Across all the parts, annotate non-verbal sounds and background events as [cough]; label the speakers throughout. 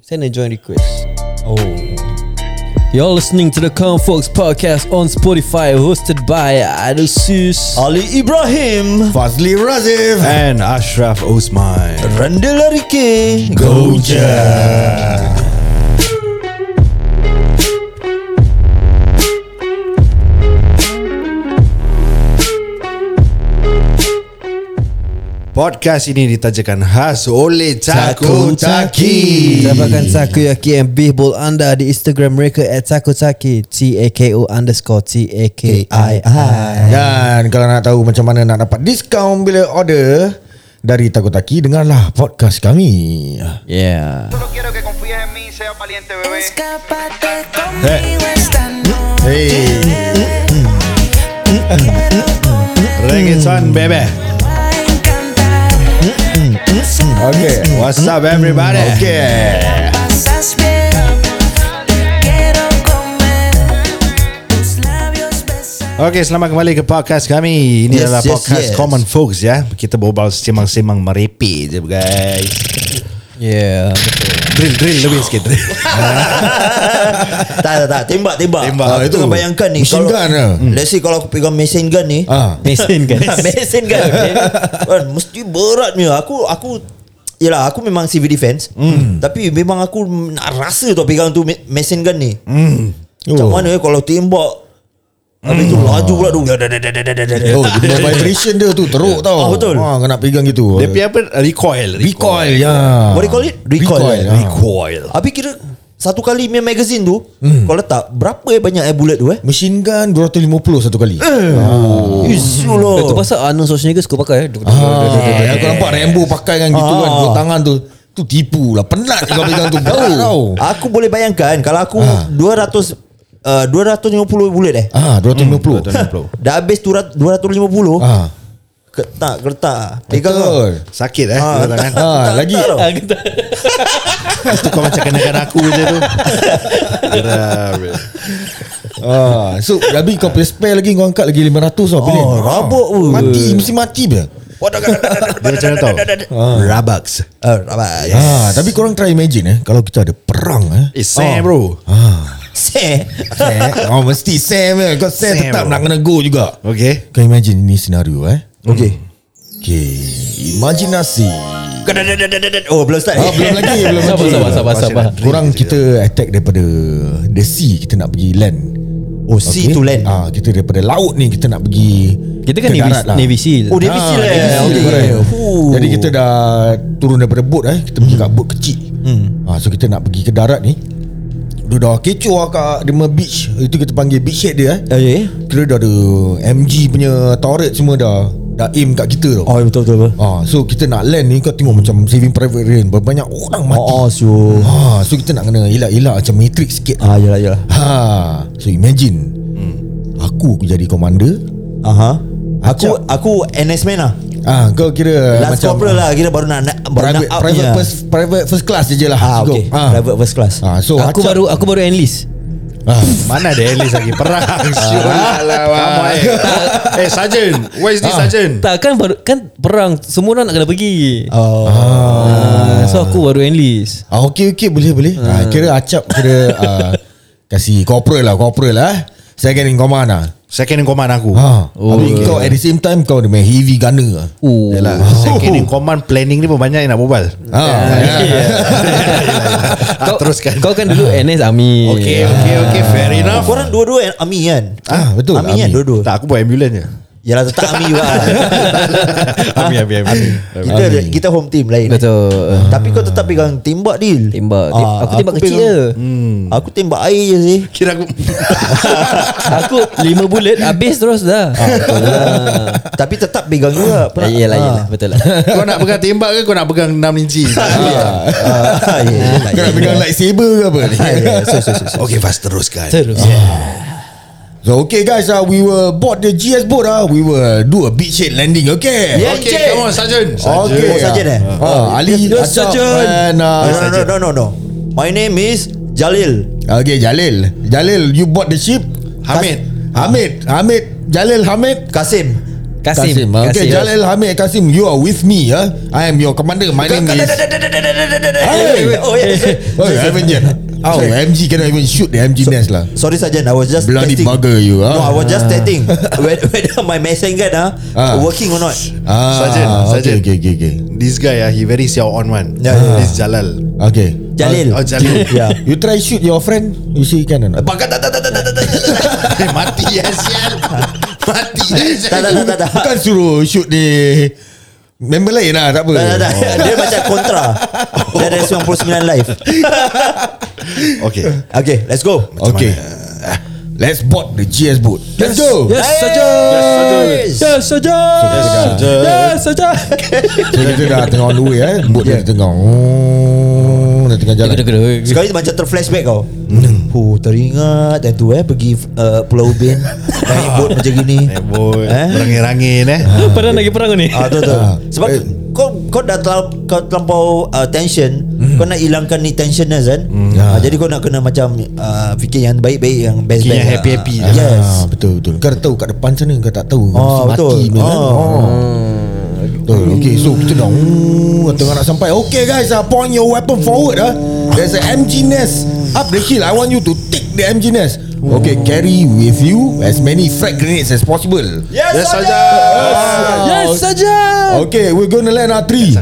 Speaker 1: Send a joint request.
Speaker 2: Oh.
Speaker 1: You're listening to the Calm Folks podcast on Spotify, hosted by Adusus.
Speaker 3: Ali Ibrahim
Speaker 2: Fazli Razif and Ashraf Osman.
Speaker 3: Randall Arike
Speaker 2: Go je. Podcast ini ditajakan khas oleh Cako Caki.
Speaker 1: Dapatkan takoyaki and beef bowl anda di Instagram mereka at takoyaki T-A-K-O underscore T-A-K-I-I
Speaker 2: Dan kalau nak tahu macam mana nak dapat diskaun bila order dari Takotaki, dengarlah podcast kami.
Speaker 1: Yeah
Speaker 4: Solo quiero que confíes en mí, sea valiente, bebé.
Speaker 5: Escápate conmigo esta noche.
Speaker 2: Hey, Reggaeton
Speaker 5: Va
Speaker 2: bebe.
Speaker 5: a encantar.
Speaker 2: Okay, what's up everybody? Okay.
Speaker 5: Pasas bien. Te quiero comer. Tus labios besar.
Speaker 2: Okay, selamat kembali ke podcast kami. Ini
Speaker 1: Yes,
Speaker 2: yes, adalah
Speaker 1: yes,
Speaker 2: lah podcast yes.
Speaker 1: yes.
Speaker 2: Common Folks ya. Kita berbual semang-semang merepi je guys.
Speaker 1: Yeah
Speaker 2: Drill, drill lebih sikit. Drill.
Speaker 3: [laughs] Tak tak tak Tembak tembak,
Speaker 2: Tembak.
Speaker 3: Ah,
Speaker 2: Itu.
Speaker 3: Itu kan bayangkan ni
Speaker 2: Machine
Speaker 3: kalau,
Speaker 2: gun lah.
Speaker 3: Hmm. Let's say kalau aku pegang machine gun ni [laughs]
Speaker 2: ah.
Speaker 1: Mesin [laughs] kan
Speaker 3: Mesin kan kan, Mesti berat punya Aku Aku Yelah aku memang civil defense mm.
Speaker 2: Hmm.
Speaker 3: Tapi memang aku Nak rasa tau pegang tu me- Mesin gun ni mm. Macam
Speaker 2: Oh. Hmm.
Speaker 3: mana eh Kalau tembak Habis tu laju pula tu Ya,
Speaker 6: Oh, dia
Speaker 2: [laughs]
Speaker 6: punya vibration dia tu teruk tau.
Speaker 3: Ah, betul.
Speaker 6: Ha, kena pegang gitu.
Speaker 2: Dia punya apa? Recoil.
Speaker 6: recoil ya.
Speaker 3: What do you call it? Recoil,
Speaker 6: Recoil,
Speaker 3: eh?
Speaker 6: ah.
Speaker 2: Recoil.
Speaker 3: Habis kira Satu kali punya magazine tu
Speaker 6: Hmm.
Speaker 3: Kau letak Berapa eh banyak eh bullet tu eh
Speaker 6: Machine gun 250 satu kali. Ah.
Speaker 3: Oh. Isulah
Speaker 1: Itu pasal Arnold Schwarzenegger suka pakai
Speaker 3: Ah.
Speaker 6: Ha, aku nampak Rambo pakai kan gitu kan dua tangan tu. Tu tipu lah. [laughs] Penat kau pegang tu. Ha. Berat tau.
Speaker 3: Aku boleh bayangkan Kalau aku 200 uh, 250 bullet eh
Speaker 6: Ah, 250.
Speaker 2: 250.
Speaker 3: Dah habis tu rat- 250
Speaker 6: Ah.
Speaker 3: Ketak Ketak Pegang kau
Speaker 6: Betul. Ha,
Speaker 2: Sakit eh.
Speaker 3: Ah,
Speaker 2: kedua tangan.
Speaker 3: tak- tak-
Speaker 6: lagi.
Speaker 3: tak tau.
Speaker 2: Itu kau macam kenakan aku je tu. Geram, bro.
Speaker 6: Ah, so Rabi kau punya spare lagi kau angkat lagi 500 tau. Pilih.
Speaker 3: Oh,
Speaker 6: Ah,
Speaker 3: rabak pun.
Speaker 6: Mati, mesti mati dia.
Speaker 2: Dia macam [laughs] mana tau?
Speaker 6: Ha.
Speaker 2: Rabaks.
Speaker 3: Ah, rabak.
Speaker 6: Ah, tapi korang try imagine eh kalau kita ada perang eh.
Speaker 2: Eh, Sam bro.
Speaker 3: Seh.
Speaker 6: Sam. [laughs] Oh mesti Sam eh. Kau Sam,
Speaker 2: Sam,
Speaker 6: tetap
Speaker 2: bro.
Speaker 6: nak kena go juga
Speaker 2: Okay.
Speaker 6: Kau imagine ni senario eh
Speaker 3: Okey.
Speaker 6: Okay Imajinasi
Speaker 3: Oh, belum start.
Speaker 6: Ah, belum lagi Belum
Speaker 1: Sabar,
Speaker 6: lagi
Speaker 1: sabar, sabar, sabar.
Speaker 6: Korang kita attack daripada The sea Kita nak pergi land
Speaker 3: Oh, sea to land.
Speaker 6: ah, Kita daripada laut ni Kita nak pergi
Speaker 1: Kita kan
Speaker 6: ke
Speaker 1: Navy,
Speaker 6: darat lah.
Speaker 1: Navy lah. SEAL
Speaker 3: Oh, Navy
Speaker 6: Ah,
Speaker 3: Seal
Speaker 6: Navy
Speaker 3: eh.
Speaker 6: Seal,
Speaker 3: Okey.
Speaker 6: correct.
Speaker 3: Fuh.
Speaker 6: Jadi kita dah Turun daripada bot eh Kita pergi kat bot kecil
Speaker 1: Hmm.
Speaker 6: ah, So kita nak pergi ke darat ni Dia dah kecoh lah kat Dia punya beach Itu kita panggil beach head dia eh
Speaker 1: Oh,
Speaker 3: Eh.
Speaker 6: Kira dah ada MG punya turret semua dah Dah aim kat kita tau
Speaker 3: Oh, betul betul. betul.
Speaker 6: Ah, so kita nak land ni kau tengok macam Saving Private Ryan Banyak orang mati
Speaker 3: Oh, oh, so.
Speaker 6: ah, So kita nak kena elak-elak macam Matrix sikit
Speaker 3: Ah, yalah yalah.
Speaker 6: ha, So imagine
Speaker 3: Hmm.
Speaker 6: Aku jadi commander
Speaker 3: Aha. Aku
Speaker 6: Acap.
Speaker 3: aku NS man lah.
Speaker 6: ah, Kau kira
Speaker 3: Last
Speaker 6: macam uh,
Speaker 3: corporal lah kira baru nak nak- baru nak
Speaker 6: Private,
Speaker 3: up ni
Speaker 6: private,
Speaker 3: lah.
Speaker 6: first, private first class je lah
Speaker 3: Ah,
Speaker 6: Go.
Speaker 3: okay. Private first class.
Speaker 6: ah, So
Speaker 1: Aku
Speaker 6: Acap-
Speaker 1: baru aku baru enlist
Speaker 6: ah,
Speaker 2: Mana ada Alice lagi
Speaker 6: [laughs]
Speaker 2: perang. Syul lah, Come on, eh. Ah. Eh, Sergeant. Where is this Sergeant?
Speaker 1: Tak kan baru kan perang semua orang nak kena pergi.
Speaker 3: Oh.
Speaker 1: Ah, so aku baru enlist.
Speaker 6: Ah okey okey boleh boleh. Ah, kira acap kira ah, kasi corporal lah, corporal lah. eh. Second in command lah.
Speaker 2: Second in command aku.
Speaker 6: Ha. Oh, Habis kau at the same time kau dia main heavy gunner lah.
Speaker 1: Oh.
Speaker 2: Yalah, second in command planning ni pun banyak yang nak berbual.
Speaker 6: Ha.
Speaker 3: Ah, [laughs] ya,
Speaker 2: Ah, teruskan.
Speaker 1: Kau kan dulu NS Army.
Speaker 2: Okay, okay, okay, fair enough.
Speaker 3: Korang dua-dua Ami kan?
Speaker 6: Ah, betul,
Speaker 3: Ami kan
Speaker 6: army.
Speaker 3: dua-dua.
Speaker 2: Tak, aku buat ambulans je.
Speaker 3: Yalah tetap Ami
Speaker 6: [laughs]
Speaker 3: juga.
Speaker 2: Abi, abi, abi.
Speaker 3: Kita kita home team lain.
Speaker 1: Ah, Betul.
Speaker 3: Tapi kau tetap pegang tembak deal. Ah,
Speaker 1: Tembak. Aku tembak kecil
Speaker 3: pegang-
Speaker 1: je.
Speaker 3: Hmm. Aku tembak air je sih.
Speaker 2: Kira aku
Speaker 1: Aku lima bullet habis terus dah.
Speaker 3: lah. Ah. Tapi tetap pegang juga.
Speaker 1: Ah, Yelah, yelah. Betul lah.
Speaker 2: Kau nak pegang tembak ke Kau nak pegang 6 [laughs] inci
Speaker 3: Ah, yelah,
Speaker 6: Kau nak pegang lightsaber ke apa ni?
Speaker 3: So, so, so, so.
Speaker 2: Okay Faz teruskan
Speaker 1: Terus.
Speaker 6: So okay guys, uh, we will board the GS boat ah. We will do a beachhead landing, okay?
Speaker 3: Yeah,
Speaker 2: Okay
Speaker 3: Encik.
Speaker 2: come on Sergeant
Speaker 6: Okay.
Speaker 3: Oh, sergeant eh?
Speaker 6: Ah, Ali
Speaker 3: Yes,
Speaker 6: Acap
Speaker 3: sergeant.
Speaker 6: and uh,
Speaker 3: No, no, no, no, no, no. My name is Jalil.
Speaker 6: Okay, Jalil. Jalil, you board the ship.
Speaker 2: Hamid
Speaker 6: Hamid, Hamid, Jalil Hamid.
Speaker 3: Kasim.
Speaker 1: Kasim.
Speaker 6: Kasim. ah. Okay,
Speaker 1: Kasim.
Speaker 6: Jalal Hamid Kasim, you are with me. ah. I am your commander. My name is... [laughs] Hey.
Speaker 3: Oh, [laughs] yeah.
Speaker 6: Oh, haven't yet. Oh, MG cannot even shoot the MG nest lah.
Speaker 3: Ah. Sorry Sajan I was just
Speaker 6: Bloody
Speaker 3: testing.
Speaker 6: bugger you, ah.
Speaker 3: No I was just testing [laughs] whe- Whether my messenger ah,
Speaker 6: Ah.
Speaker 3: Working or not
Speaker 6: Ah,
Speaker 2: Sarjan, Sarjan.
Speaker 6: Okay, okay, okay, okay.
Speaker 2: This guy ah, he very siao on one.
Speaker 3: Yeah, yeah.
Speaker 2: Ah. Ya, This Jalal.
Speaker 6: Okay.
Speaker 3: Jalil Ya.
Speaker 2: Oh,
Speaker 3: [laughs]
Speaker 2: Jalil.
Speaker 6: [laughs]
Speaker 3: Yeah
Speaker 6: You try shoot your friend. You see can or not?
Speaker 3: Bakat tak tak tak tak tak tak
Speaker 2: [laughs] Eh, mati ya sial. [laughs] Mati ya
Speaker 3: Tak tak
Speaker 2: sial.
Speaker 3: tak tak tak
Speaker 6: Bukan suruh shoot di member lain lah, tak apa.
Speaker 3: Tak, tak, tak. [laughs] Dia macam kontra Dia ada 99
Speaker 6: [laughs]
Speaker 3: live
Speaker 2: Okay.
Speaker 3: Okay let's go
Speaker 6: Okay. Oh, Ah, Let's board the GS boat. Let's
Speaker 3: [laughs]
Speaker 6: go.
Speaker 1: Yes, saja. Yes, saja. Yes, saja.
Speaker 6: So kita dah tengah on the way eh. Boat dia tengah. Oh, dah tengah jalan.
Speaker 3: Sekali macam terflashback kau hmm. Oh teringat Yang tu eh Pergi uh, Pulau
Speaker 6: [laughs]
Speaker 3: Ubin Naik boat macam gini
Speaker 2: Eh, boy.
Speaker 3: Eh?
Speaker 2: Rangin-rangin eh.
Speaker 1: Pernah lagi perang ni?
Speaker 3: Ah tu tu.
Speaker 6: Ah.
Speaker 3: Sebab
Speaker 6: Eh.
Speaker 3: kau kau dah terlalu, kau terlampau uh, tension,
Speaker 1: Hmm.
Speaker 3: kau nak hilangkan ni tensioners kan. Ah, jadi kau nak kena macam uh, fikir yang baik-baik yang best
Speaker 2: Fikir
Speaker 3: best.
Speaker 2: yang happy-happy
Speaker 3: Ah,
Speaker 2: je.
Speaker 3: Yes.
Speaker 6: Ah, betul betul. Kau dah tahu kat depan sana kau tak tahu. Kau
Speaker 3: Oh,
Speaker 6: mesti
Speaker 3: betul.
Speaker 6: punya kan?
Speaker 3: Oh.
Speaker 6: Betul. Okay, so kita dah oh, tengah nak sampai. Okay guys, uh, point your weapon forward ah. There's a MG nest up the hill. I want you to take the MG nest. Okay, carry with you as many frag grenades as possible.
Speaker 3: Yes,
Speaker 2: Yes, saja.
Speaker 1: Yes, saja.
Speaker 6: Okay, we're gonna land our three,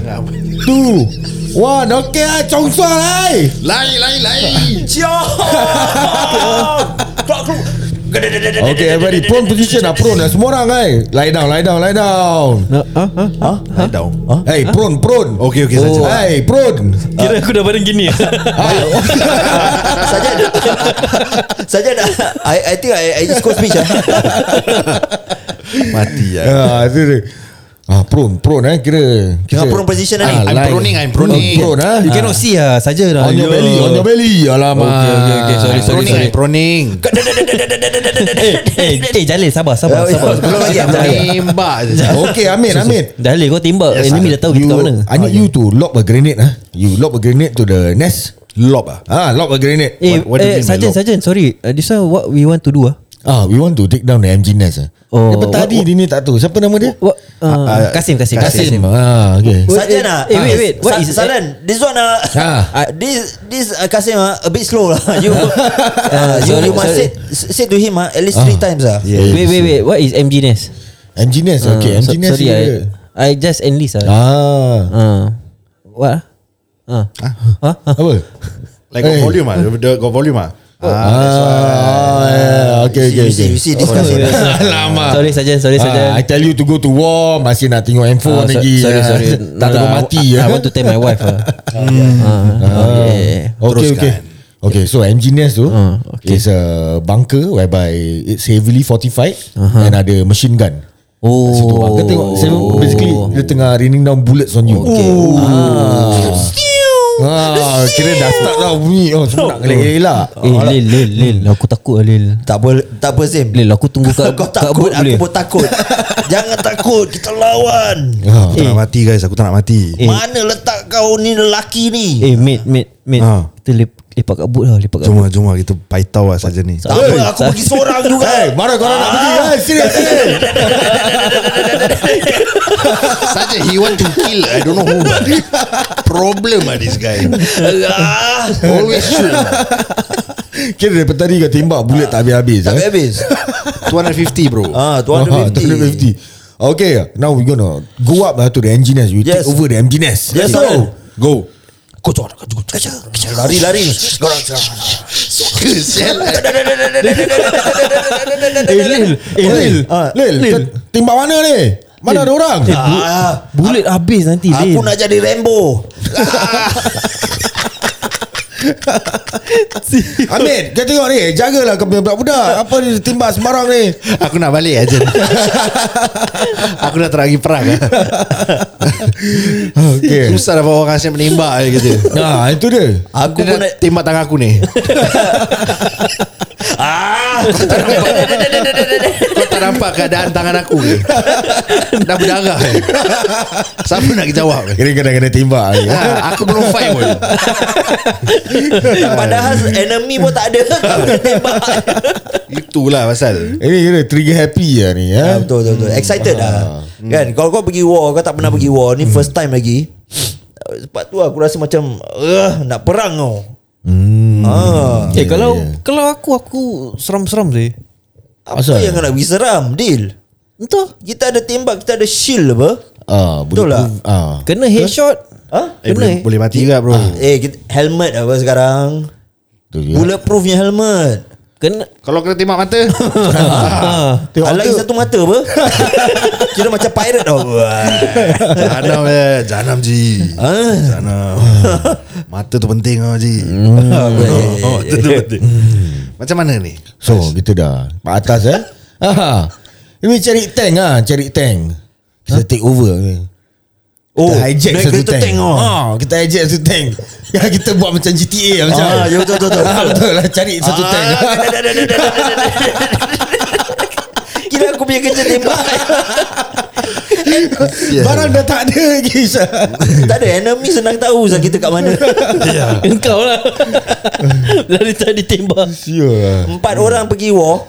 Speaker 6: two, one. Okay, ah, congsor lah.
Speaker 2: Lai, lai, lai.
Speaker 3: Ciao. Kau kau.
Speaker 6: Okay, everybody prone position lah, prone lah. Semua orang eh. Lie down, lie down, lie down.
Speaker 2: Lie down.
Speaker 6: Hey, prone, prone.
Speaker 2: Okay, okay, saja.
Speaker 6: Hey, prone.
Speaker 1: Kira aku dah badan gini.
Speaker 3: Saja
Speaker 1: Ah.
Speaker 3: Saja I I think I I just go speech
Speaker 1: [laughs]
Speaker 3: ah.
Speaker 2: Mati ya.
Speaker 6: [laughs] Ah, tu dia. Ah, prone, prone eh kira. kira.
Speaker 3: Tengah prone position eh? ni.
Speaker 2: I'm
Speaker 6: line.
Speaker 2: proning, I'm proning.
Speaker 6: Oh, prone ah.
Speaker 1: You cannot see ah, saja dah.
Speaker 6: On your belly, on your belly. Alamak.
Speaker 1: Okay, okay, okay, sorry, sorry,
Speaker 2: Proning,
Speaker 1: sorry.
Speaker 2: I'm proning.
Speaker 1: Eh, [laughs] eh, eh, Jalil sabar, sabar,
Speaker 3: Oh,
Speaker 6: [laughs]
Speaker 1: sabar.
Speaker 3: belum lagi, belum lagi.
Speaker 2: Tembak je.
Speaker 6: eh. Okay, Amin, Amin.
Speaker 1: Jalil kau tembak enemy Eh, dah tahu kita kat mana.
Speaker 6: I need you to lob a grenade ah. You lob a grenade to the nest.
Speaker 2: Lob ah.
Speaker 6: Ah, lob a grenade.
Speaker 1: Eh,
Speaker 2: what do
Speaker 1: eh
Speaker 2: you mean by
Speaker 1: Sarjan,
Speaker 2: lock?
Speaker 1: Sarjan, sorry. Uh, this one what we want to do ah.
Speaker 6: Ah, we want to take down the MG nest. Ah.
Speaker 1: Oh,
Speaker 6: Dia tadi dia ni tak tahu. Siapa nama dia?
Speaker 1: What? Uh, Kasim, Kasim,
Speaker 6: ah, Kasim. Ah, okay.
Speaker 1: What-
Speaker 3: Sarjan ah.
Speaker 1: eh, wait, wait, what
Speaker 3: Sa-
Speaker 1: is-
Speaker 3: Sarjan, this one [laughs] ah.
Speaker 6: Ah.
Speaker 3: This this uh, Kasim ah a bit slow lah. [laughs] You
Speaker 1: [laughs]
Speaker 3: uh, you,
Speaker 1: sorry,
Speaker 3: you must say
Speaker 1: sorry.
Speaker 3: say to him ah at least three times ah.
Speaker 6: Yeah,
Speaker 1: Wait, wait, wait. What is MG Nest?
Speaker 6: MG nest. Okay,
Speaker 1: Ah,
Speaker 6: MG
Speaker 1: so-
Speaker 6: nest.
Speaker 1: Sorry, I,
Speaker 6: dia.
Speaker 1: I just enlist ah.
Speaker 6: Ah.
Speaker 1: Ah. What? Ah. Ah. ah.
Speaker 6: Apa?
Speaker 2: Like got
Speaker 6: Eh.
Speaker 2: volume ah. Dia Got volume ah.
Speaker 6: Ah, yeah, okay, okay,
Speaker 3: You
Speaker 6: okay.
Speaker 3: see,
Speaker 6: [laughs]
Speaker 3: you see, you see this Kasim.
Speaker 6: Alamak.
Speaker 1: Sorry Sarjan, sorry
Speaker 6: Ah, I
Speaker 1: Sarjan.
Speaker 6: tell you to go to war Masih nak tengok
Speaker 1: Ah,
Speaker 6: handphone
Speaker 1: so-
Speaker 6: lagi
Speaker 1: sorry,
Speaker 6: Ah,
Speaker 1: sorry.
Speaker 6: [laughs] Tak
Speaker 1: No,
Speaker 6: tengok
Speaker 1: no,
Speaker 6: mati
Speaker 1: I, I
Speaker 6: ah.
Speaker 1: want to tell my wife. ah. Ah, okay.
Speaker 6: [laughs] Okay
Speaker 2: Teruskan.
Speaker 6: okay Okay so MG Nest tu
Speaker 1: Ah,
Speaker 6: okay. Is a bunker Whereby It's heavily fortified
Speaker 1: Uh-huh.
Speaker 6: And ada machine gun
Speaker 1: Oh.
Speaker 6: Situ bunker tengok so Basically Dia tengah raining down bullets on you
Speaker 1: Okay.
Speaker 6: Ah, kira dah start dah bunyi oh, Semua nak kena elak
Speaker 1: Eh Lil, Lil, Lil. Aku takut ah, Lil.
Speaker 3: Hmm. Tak apa, tak apa Sim.
Speaker 1: Lil, aku tunggu kat
Speaker 3: Kau
Speaker 1: kat boot
Speaker 3: takut, aku
Speaker 1: boleh.
Speaker 3: pun
Speaker 1: [laughs]
Speaker 3: takut. Jangan takut, kita lawan.
Speaker 6: Ah.
Speaker 2: Aku tak nak mati guys Aku tak nak mati
Speaker 1: Eh.
Speaker 3: Mana letak kau ni lelaki ni?
Speaker 1: Eh mate, mate, mate.
Speaker 3: Ha.
Speaker 2: Ah.
Speaker 1: Kita lep- lepak kat boot lah, lepak kat
Speaker 2: Jom lah jom lah Kita paitau lah saja ni
Speaker 3: Tak apa, aku pergi seorang juga.
Speaker 6: Hey, mana korang nak pergi? Hey, serius, serius.
Speaker 2: Saja he want to kill I don't know who Problem ah this guy
Speaker 3: Ah,
Speaker 2: Always shoot
Speaker 6: Kira daripada tadi kau tembak Bulat tak habis-habis
Speaker 3: tak
Speaker 6: eh.
Speaker 3: habis.
Speaker 2: 250 bro
Speaker 3: Ah,
Speaker 6: Ah,
Speaker 3: 250.
Speaker 6: 250. Okay, now we gonna go up uh, to the MG nest. We
Speaker 3: Yes.
Speaker 6: take over the MG nest.
Speaker 3: Yes,
Speaker 6: go.
Speaker 3: Alan.
Speaker 6: Go.
Speaker 3: Eh, Lari, lari.
Speaker 2: Sial lah.
Speaker 6: Eh, Lil. Eh, Lil.
Speaker 3: Ah,
Speaker 6: Lil, kau tembak mana ni? Mana ada orang?
Speaker 1: Eh.
Speaker 3: Ah,
Speaker 1: Bullet habis nanti
Speaker 3: aku
Speaker 1: Lil.
Speaker 3: nak jadi Rambo.
Speaker 6: Amin, kau tengok ni. Jagalah kau punya budak-budak. Apa ni tembak sembarang ni?
Speaker 2: Aku nak balik aja [laughs] Aku dah terangi perang [laughs] ah.
Speaker 6: Okay.
Speaker 2: Susah dapat orang asyik menembak je gitu
Speaker 6: Nah, itu dia.
Speaker 2: Aku
Speaker 3: Aku
Speaker 2: dia
Speaker 3: pun
Speaker 2: nak
Speaker 3: nak
Speaker 2: tembak tangan aku ni
Speaker 3: Ah,
Speaker 2: Kau tak nampak Kau tak nampak keadaan tangan aku ke Dah berdarah ke? Siapa nak jawab [laughs] ke?
Speaker 6: Kira kena-kena tembak [laughs] ni.
Speaker 2: Ha, aku belum fight pun
Speaker 3: [laughs] Padahal enemy pun tak ada
Speaker 6: Ah,
Speaker 3: Kau kena tembak
Speaker 2: Itulah pasal
Speaker 6: Ini kira trigger happy lah ni
Speaker 3: Ah,
Speaker 6: ya.
Speaker 3: Betul betul betul Excited
Speaker 6: Ah,
Speaker 3: lah
Speaker 6: hmm.
Speaker 3: Kan Kalau kau pergi war Kau tak pernah pergi war Ni first time lagi Uh, Sebab tu aku rasa macam uh, Nak perang kau hmm. ah.
Speaker 1: Eh kalau Kalau aku Aku seram-seram sih
Speaker 3: Ah. Apa yang kau nak pergi seram Deal Entah Kita ada tembak Kita ada shield apa
Speaker 6: Ah,
Speaker 3: Betul lah.
Speaker 6: Ah.
Speaker 1: Kena headshot
Speaker 3: ha?
Speaker 2: eh, boleh, boleh mati juga bro
Speaker 3: Eh kita, helmet apa sekarang
Speaker 6: Betul Ah, juga.
Speaker 3: Bulletproofnya helmet
Speaker 1: Kena Ah.
Speaker 2: Kalau kena tembak
Speaker 1: [laughs]
Speaker 2: mata
Speaker 3: Tengok Alang satu mata
Speaker 6: [laughs]
Speaker 3: apa Kira macam pirate tau
Speaker 6: Oh,
Speaker 2: Janam eh Janam ji
Speaker 3: Ah.
Speaker 2: [laughs] Janam Mata tu penting oh, ji oh, Mata tu penting Macam mana ni
Speaker 6: So kita dah Pak atas [laughs] eh ha. Ini cari tank ah, Cari tank Kita take over
Speaker 3: Oh,
Speaker 6: Kita hijack
Speaker 3: naik
Speaker 6: satu
Speaker 3: kereta
Speaker 6: tank,
Speaker 3: tank, oh.
Speaker 6: ha, Kita hijack satu tank [laughs] Ah, Kita buat macam GTA lah, macam
Speaker 3: Ah, ya, betul, betul,
Speaker 6: [laughs]
Speaker 3: betul. [laughs]
Speaker 6: Ah, Betul lah Cari satu
Speaker 2: Ah,
Speaker 6: tank
Speaker 2: dah, dah, dah, dah, dah, dah, dah.
Speaker 3: Kira aku punya kerja tembak
Speaker 2: Ya,
Speaker 6: Barang Ah, dah tak ada lagi Syah.
Speaker 3: Tak ada enemy senang tahu Ustaz kita kat mana
Speaker 1: Engkau
Speaker 2: [laughs]
Speaker 1: lah Dari tadi tembak
Speaker 6: Sial.
Speaker 3: Empat orang pergi war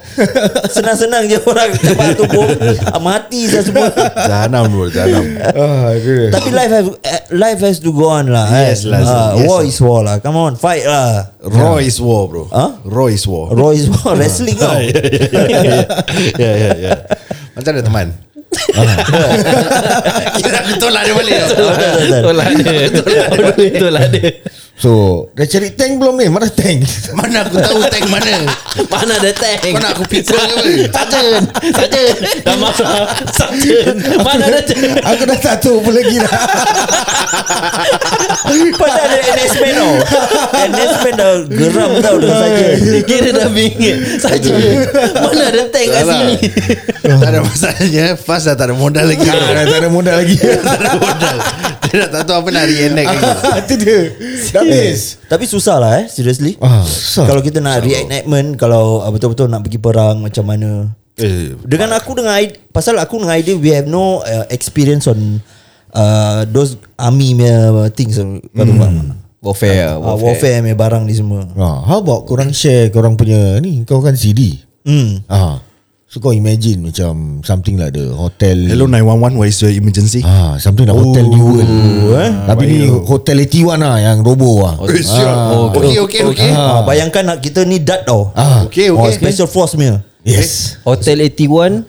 Speaker 3: Senang-senang je orang Tempat tu bom Ah, Mati saya semua
Speaker 2: Janam bro [laughs] Janam
Speaker 6: Ah, dia.
Speaker 3: Tapi life has, eh, life has to go on lah
Speaker 2: Yes
Speaker 3: eh.
Speaker 2: lah,
Speaker 3: Ah,
Speaker 2: yes.
Speaker 3: War is war lah Come on fight lah
Speaker 2: Raw is war bro
Speaker 3: Huh?
Speaker 2: Raw is war [laughs]
Speaker 3: Raw is war
Speaker 6: Ah.
Speaker 3: Wrestling lah. tau
Speaker 2: Ah? Ya ya ya Ah. Macam mana teman [laughs] Kita aku tolak dia balik oh.
Speaker 1: Tolak dia Tolak dia
Speaker 6: So Dah cari tank belum ni Mana [laughs] tank
Speaker 2: Mana aku tahu tank mana
Speaker 1: Mana ada tank
Speaker 2: Kau nak aku pikul ke apa
Speaker 1: Sarjan Sarjan Dah marah Sarjan Mana ada tank
Speaker 6: Aku dah tak tahu apa lagi lah. dah
Speaker 3: Padahal
Speaker 6: [laughs]
Speaker 3: ada NS-man tau NS-man dah geram tau Dah saja
Speaker 1: Dia kira dah bingit Sarjan Mana ada tank kat
Speaker 2: Salah.
Speaker 1: sini
Speaker 2: Tak [laughs] ada masalahnya Fast dah tak ada modal lagi
Speaker 6: Ah, Dah tak ada modal [laughs] lagi
Speaker 2: Tak ada modal Dia dah tak tahu apa nak reenact lagi
Speaker 6: Ah, Itu dia Dah habis
Speaker 3: Tapi susah lah eh Seriously
Speaker 6: Ah, susah.
Speaker 3: Kalau kita nak reenactment Kalau ah, betul-betul nak pergi perang Macam mana
Speaker 2: Eh,
Speaker 3: Dengan aku dengan ide- Pasal aku dengan idea We have no uh, experience on uh, Those army punya things
Speaker 6: Hmm.
Speaker 3: mm.
Speaker 1: Warfare
Speaker 3: Uh, warfare punya barang ni semua
Speaker 6: Ah, How about korang share Korang punya Ni kau kan CD
Speaker 3: Hmm.
Speaker 6: Ah, So kau imagine Macam Something like the Hotel
Speaker 2: Hello 911 What is your emergency
Speaker 6: Ah, Something like Hotel New World eh? Tapi ni Hotel 81 lah Yang robo lah
Speaker 2: Eh, siap. Okay okay okay
Speaker 3: Ah, bayangkan nak kita ni dat tau.
Speaker 6: Ah,
Speaker 1: Eh,
Speaker 2: Okay
Speaker 3: Oh,
Speaker 2: okay
Speaker 3: special force punya.
Speaker 6: Yes
Speaker 1: Hotel 81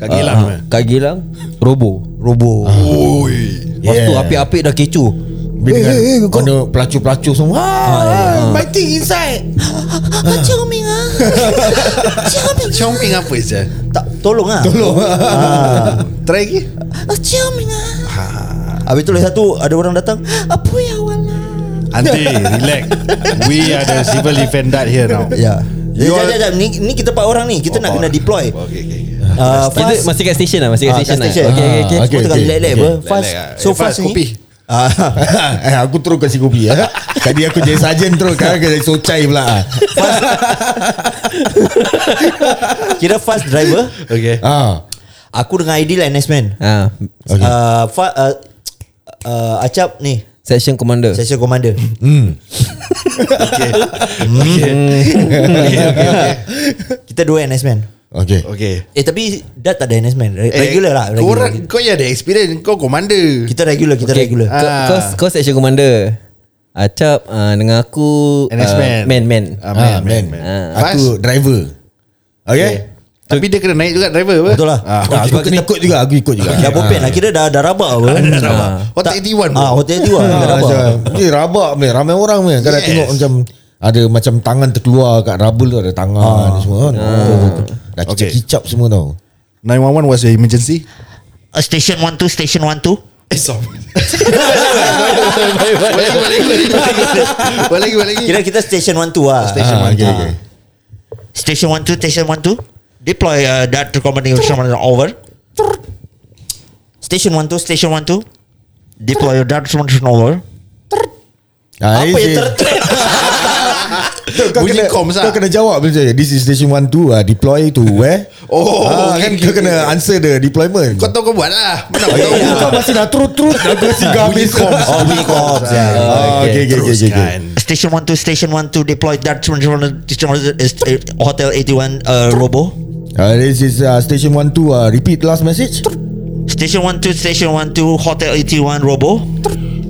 Speaker 2: Kaki hilang
Speaker 1: ah, Kak Gilang Robo Ah.
Speaker 3: Robo.
Speaker 2: Oi
Speaker 1: Lepas
Speaker 6: Yeah.
Speaker 1: tu apik-apik dah kecoh
Speaker 6: Bila kan Kau ada pelacur-pelacur semua ah, Biting inside
Speaker 1: [laughs] ah.
Speaker 6: [laughs]
Speaker 2: Chomping apa je
Speaker 3: Tak tolong ah. Tolong.
Speaker 2: [laughs] Try lagi
Speaker 3: Habis tu lagi satu ada orang datang. ya,
Speaker 2: Aunty relax We are the civil defendant here now
Speaker 3: Ya.
Speaker 2: You
Speaker 3: Jap,
Speaker 2: are-
Speaker 3: jap, jap. Ni, ni kita empat orang ni. Kita nak kena deploy.
Speaker 2: Okay okay
Speaker 3: Ah,
Speaker 1: Kita
Speaker 3: fast.
Speaker 1: masih kat station lah Masih kat
Speaker 3: Ah,
Speaker 1: station lah
Speaker 3: station.
Speaker 1: Okay okay okay
Speaker 3: Semua tengah
Speaker 6: okay,
Speaker 3: lelek
Speaker 6: okay.
Speaker 3: apa. Fast.
Speaker 2: Lelek, ah.
Speaker 3: So
Speaker 2: Eh,
Speaker 3: fast
Speaker 2: fast, kopi.
Speaker 3: ni. Ah,
Speaker 6: [laughs] eh, Aku terus kasi kopi eh. Tadi aku jadi sarjan terus Sekarang aku jadi socai pula
Speaker 3: Kira fast driver.
Speaker 2: Okay
Speaker 6: ah.
Speaker 3: Aku dengan Aidil and Nesman.
Speaker 1: Ah,
Speaker 6: Okay.
Speaker 3: Ah, fa- ah, ah, Acap ni.
Speaker 1: Section commander
Speaker 3: Session commander. [laughs] Hmm.
Speaker 2: Okay Okay okay
Speaker 3: Kita dua Nesman.
Speaker 6: Okay
Speaker 2: Okay
Speaker 3: Eh tapi Dat tak ada Nesman. Re-
Speaker 2: Eh,
Speaker 3: Regular lah.
Speaker 2: Kau
Speaker 3: Regular.
Speaker 2: orang Kau yang ada experience Kau commander
Speaker 3: Kita regular, kita
Speaker 1: Okay,
Speaker 3: regular.
Speaker 1: Kau,
Speaker 2: Ah.
Speaker 1: kau, kau section commander Acap uh, Dengan aku
Speaker 2: NS man
Speaker 1: uh, Man man
Speaker 2: Ah,
Speaker 6: ah,
Speaker 2: Man man,
Speaker 6: man.
Speaker 2: man.
Speaker 6: Ah. Aku driver Okay,
Speaker 2: Eh, Tapi dia kena naik juga driver apa?
Speaker 3: Betul lah.
Speaker 2: Ah,
Speaker 6: Ah, aku kena ikut juga Aku ikut juga
Speaker 3: Dah bopen lah Kira dah, dah rabak apa Dah
Speaker 2: Ah, rabak. Oh, Hotel 81 pun.
Speaker 3: Ah, Hotel 81
Speaker 6: Ah,
Speaker 3: Dah rabak
Speaker 6: macam, Ni rabak meh, ramai orang meh. Kadang
Speaker 2: Yes.
Speaker 6: tengok macam ada macam tangan terkeluar kat rubble tu ada tangan ni semua kan. Dah
Speaker 2: Okay.
Speaker 6: kicap-kicap semua tau.
Speaker 2: 911 was your emergency
Speaker 7: Uh, station 12, station 12.
Speaker 2: Eh sorry Balik balik balik Balik lagi balik lagi
Speaker 3: Kira kita station 12 lah
Speaker 2: Station
Speaker 6: Ah,
Speaker 2: one,
Speaker 6: okay,
Speaker 2: ah.
Speaker 6: okay.
Speaker 7: Ah. Station 12, station 12. Deploy uh, that commanding instrument over. Station 12, station 12. Deploy your dart instrument over.
Speaker 6: Ah,
Speaker 3: Apa
Speaker 6: ini
Speaker 7: [laughs]
Speaker 3: yang
Speaker 6: si-
Speaker 3: tertek
Speaker 6: Kau
Speaker 2: Bunyi lah. ah.
Speaker 6: kena,
Speaker 2: com sah.
Speaker 6: kau kena jawab bila saya This is station 1 2 uh, Deploy to where
Speaker 2: Oh,
Speaker 6: Ah, Kan
Speaker 2: okay, okay,
Speaker 6: kau kena ya. answer the deployment
Speaker 2: Kau tahu kau buat lah Mana aku tahu
Speaker 6: Kau masih nak terus-terus Nak terus singgah habis
Speaker 3: Oh, bunyi kops. ya.
Speaker 6: Ah, Okay
Speaker 2: Oh,
Speaker 6: okay okay, okay, okay.
Speaker 2: Teruskan
Speaker 4: Station 1 to Station 1 to deploy that Hotel 81 uh, Robo
Speaker 6: Uh, this is uh, station 1 2 uh, Repeat last message
Speaker 4: Station 1 to Station 1 to Hotel 81 Robo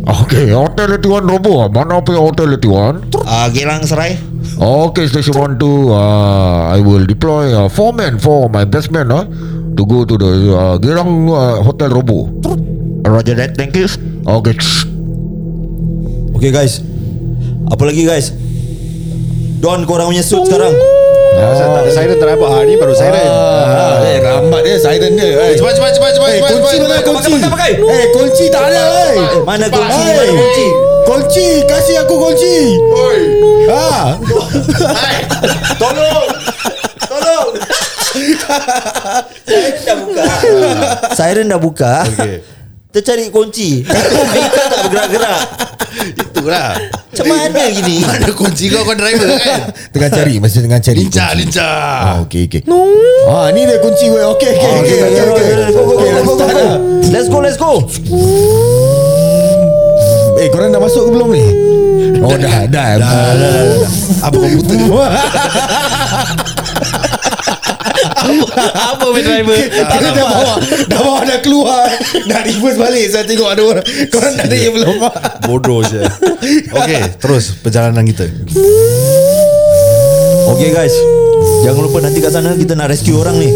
Speaker 8: Okay, Hotel 81 Robo. ah. Mana apa yang Hotel 81?
Speaker 4: uh, Gelang Serai
Speaker 8: Okay, station 1, 2. Uh, I will deploy uh, four men for my best man uh, to go to the uh, Girang uh, Hotel Robo.
Speaker 4: Roger that thank you
Speaker 8: Okay, tsh.
Speaker 3: Okay guys. Apa lagi guys? Don korang punya suit sekarang.
Speaker 2: Saya tak ada siren tak nampak Hari baru siren
Speaker 6: ah, eh, Rambat dia Siren dia eh.
Speaker 2: Cepat cepat cepat cepat
Speaker 6: Eh kunci mana kunci
Speaker 2: cepat, cepat, cepat.
Speaker 3: Pakai, pakai, pakai.
Speaker 6: Eh kunci tak ada eh.
Speaker 3: Mana
Speaker 2: Cepat.
Speaker 3: kunci?
Speaker 2: Hey.
Speaker 3: Mana kunci?
Speaker 6: Kunci Kasih aku kunci Oi Ha
Speaker 3: Tolong. Tolong. Siren dah buka. Siren dah buka. Okay. Kita cari [laughs] kunci. Vehicle tak bergerak-gerak.
Speaker 2: Itulah
Speaker 3: Macam mana gini?
Speaker 2: Mana kunci Oh, kau kau driver kan
Speaker 6: Tengah cari Masih tengah cari
Speaker 2: Lincah
Speaker 6: kunci.
Speaker 2: lincah
Speaker 6: Ah, okay, okay. No. Ah, ni dia kunci weh. Okay, okay,
Speaker 2: Oh,
Speaker 6: okay, okay, okay, okay, okay,
Speaker 3: Go, go, go,
Speaker 6: okay, let's
Speaker 3: go, go,
Speaker 6: start
Speaker 3: go.
Speaker 6: lah.
Speaker 3: Let's go, let's go.
Speaker 6: Eh, korang dah masuk ke belum ni? Oh, dah, dah. Dah, dah, dah. Apa komputer?
Speaker 2: Apa main
Speaker 3: [laughs]
Speaker 2: driver
Speaker 6: Tak ada dah bawa Dah bawa dah keluar Dah reverse balik Saya tengok ada orang Korang dah ada yang belum
Speaker 2: Bodoh je Okay terus Perjalanan kita
Speaker 3: Okay guys. Jangan lupa nanti kat sana kita nak rescue orang ni.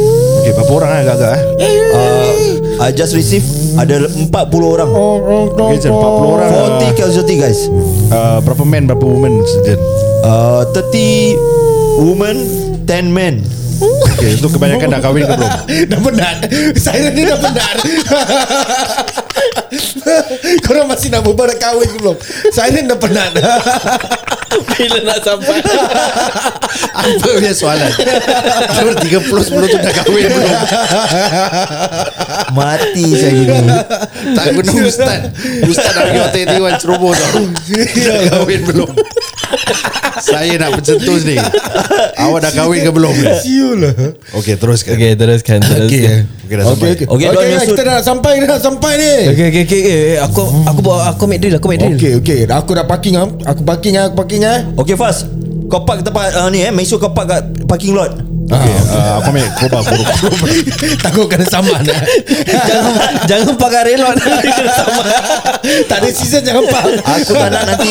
Speaker 2: Okay berapa orang kan agak-agak eh?
Speaker 3: Uh, I just receive ada 40 orang.
Speaker 2: Oh. Okay Jen 40 orang
Speaker 3: 40 casualty guys.
Speaker 2: uh, Berapa man berapa woman Jen
Speaker 3: Uh, 30 women, 10 men.
Speaker 2: Okay itu kebanyakan dah kahwin ke belum
Speaker 6: [laughs] Dah penat Siren dia dah penat Korang masih nak berbual Dah kahwin ke belum Siren dah penat
Speaker 9: Bila nak sampai
Speaker 2: Apa punya soalan Tahun 30 sebelum tu dah kahwin belum
Speaker 3: [laughs] Mati saya gini.
Speaker 2: Tak guna ustaz Ustaz nak pergi hotel Tiwan Ceroboh tau Dah kahwin belum Saya nak pencetus ni Awak dah kahwin ke belum ni
Speaker 6: Siul lah
Speaker 2: Okay teruskan
Speaker 9: Okay teruskan Teruskan
Speaker 6: Okay
Speaker 2: Okay dah sampai
Speaker 6: Okay,
Speaker 3: Okay,
Speaker 6: okay. okay,
Speaker 3: Don,
Speaker 6: okay
Speaker 3: masuk.
Speaker 6: kita dah sampai Dah sampai ni
Speaker 1: Eh, Okay, okay, okay, okay. Aku aku bawa aku make drill, aku make drill.
Speaker 6: Okay okay Aku dah parking ah. Aku parking ah, Aku parking ah.
Speaker 3: Okay fast. Kau park tempat uh, ni eh. Make sure kau park kat parking lot.
Speaker 2: Okay uh, Aku ambil Korban
Speaker 6: Takut kena saman ah.
Speaker 1: jangan jangan pakai
Speaker 6: [laughs]
Speaker 1: relot.
Speaker 6: Tak ada season jangan park
Speaker 3: Aku tak nak nanti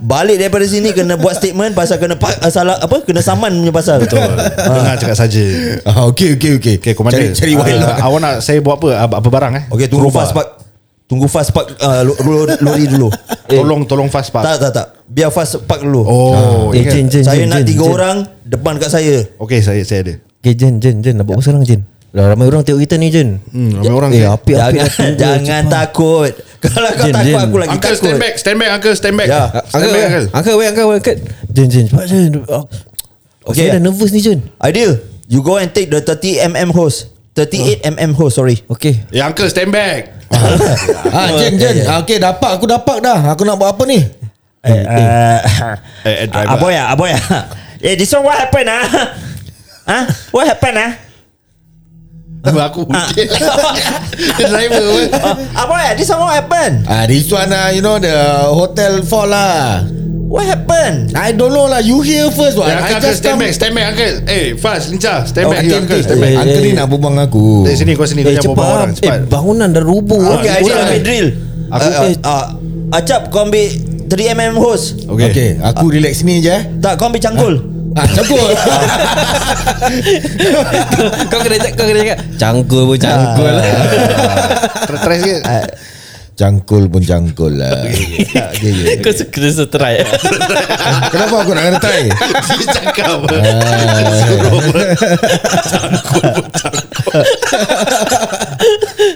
Speaker 3: balik daripada sini kena buat statement pasal kena pa- uh, salah apa kena saman punya pasal. Betul.
Speaker 2: Dengar cakap saja
Speaker 6: ah, Okay okay okay
Speaker 2: Okay komander
Speaker 6: Cari, cari wild lah
Speaker 2: Ah, Awak nak saya buat apa Apa apa barang eh
Speaker 3: Okay tunggu
Speaker 2: Gerobak.
Speaker 3: fast park. Tunggu fast park uh, lo- lo- lori dulu.
Speaker 2: Tolong tolong fast
Speaker 3: Tak
Speaker 2: park
Speaker 3: tak tak. Biar fast park dulu.
Speaker 2: Eh. Oh
Speaker 1: Eh,
Speaker 2: ingat.
Speaker 1: Jen, Jen,
Speaker 3: saya
Speaker 1: Jen,
Speaker 3: nak
Speaker 1: Jen,
Speaker 3: tiga
Speaker 1: Jen.
Speaker 3: orang depan kat saya.
Speaker 2: Okay saya saya ada
Speaker 1: Okay, Jen, Jen, Jen. Nak buat apa sekarang, Jen? Dah ramai orang tengok kita ni, Jen.
Speaker 2: Hmm, ramai orang
Speaker 1: Eh,
Speaker 2: Jen.
Speaker 1: api, api,
Speaker 2: [laughs]
Speaker 3: jangan
Speaker 1: api.
Speaker 3: [laughs] jangan takut. Kalau kau
Speaker 1: Jen,
Speaker 3: takut
Speaker 1: Jen.
Speaker 3: aku lagi
Speaker 2: Uncle
Speaker 3: takut.
Speaker 2: stand back Stand back uncle stand back
Speaker 3: Ya.
Speaker 2: Stand back uncle
Speaker 1: Angkat, weh, angkat, weh, angkat. Jen, Jen, cepat, Jen. Oh,
Speaker 3: Okay.
Speaker 1: Saya dah nervous ni, Jen.
Speaker 3: Ideal. You go and take the 30 mm hose. 38 mm hose, sorry.
Speaker 1: Okay.
Speaker 2: Eh uncle stand back
Speaker 6: [laughs] ah, Jen Jen ah, Okay dah park Aku dah park dah Aku nak buat apa ni
Speaker 3: Eh, eh,
Speaker 2: Eh, eh, driver.
Speaker 3: Aboy ah, aboy ah. Eh, this one what happen ah? Huh? What happen ah?
Speaker 2: Abang aku hujan Dia [laughs] driver pun
Speaker 3: Uh, aboy ah, this one what happen?
Speaker 6: Ah, this one lah, you know the hotel fall lah.
Speaker 3: What happen?
Speaker 6: I don't know lah. You here first one.
Speaker 2: Eh,
Speaker 6: I
Speaker 2: uncle, uncle,
Speaker 6: just
Speaker 2: stand
Speaker 6: come.
Speaker 2: back, stand back, uncle. Eh, fast, lincah. Stand
Speaker 6: Oh,
Speaker 2: back, you,
Speaker 6: uncle,
Speaker 2: uncle, stand
Speaker 6: eh,
Speaker 2: back.
Speaker 6: uncle ni nak bumbang aku.
Speaker 2: Dari sini, kau sini, kau
Speaker 1: Eh,
Speaker 2: jangan bawa
Speaker 1: cepat.
Speaker 2: orang.
Speaker 1: Eh,
Speaker 2: Cepat.
Speaker 1: bangunan dah roboh.
Speaker 3: Okay,
Speaker 1: Ah,
Speaker 3: I
Speaker 1: orang.
Speaker 3: ambil drill. Aku
Speaker 1: Aku-
Speaker 3: uh, uh, Acap kau ambil 3 mm hose.
Speaker 6: Okay. okay. Aku relax ni je. eh.
Speaker 3: Tak, kau ambil cangkul.
Speaker 6: Ah, campur.
Speaker 1: Kau kena cakap, kau kena cakap. Cangkul pun cangkul [laughs] lah.
Speaker 2: Try- Try sikit.
Speaker 6: cangkul pun cangkul lah. okay, okay.
Speaker 9: Kau suka kena seterai
Speaker 6: Kenapa aku nak kena try?
Speaker 2: Dia cakap.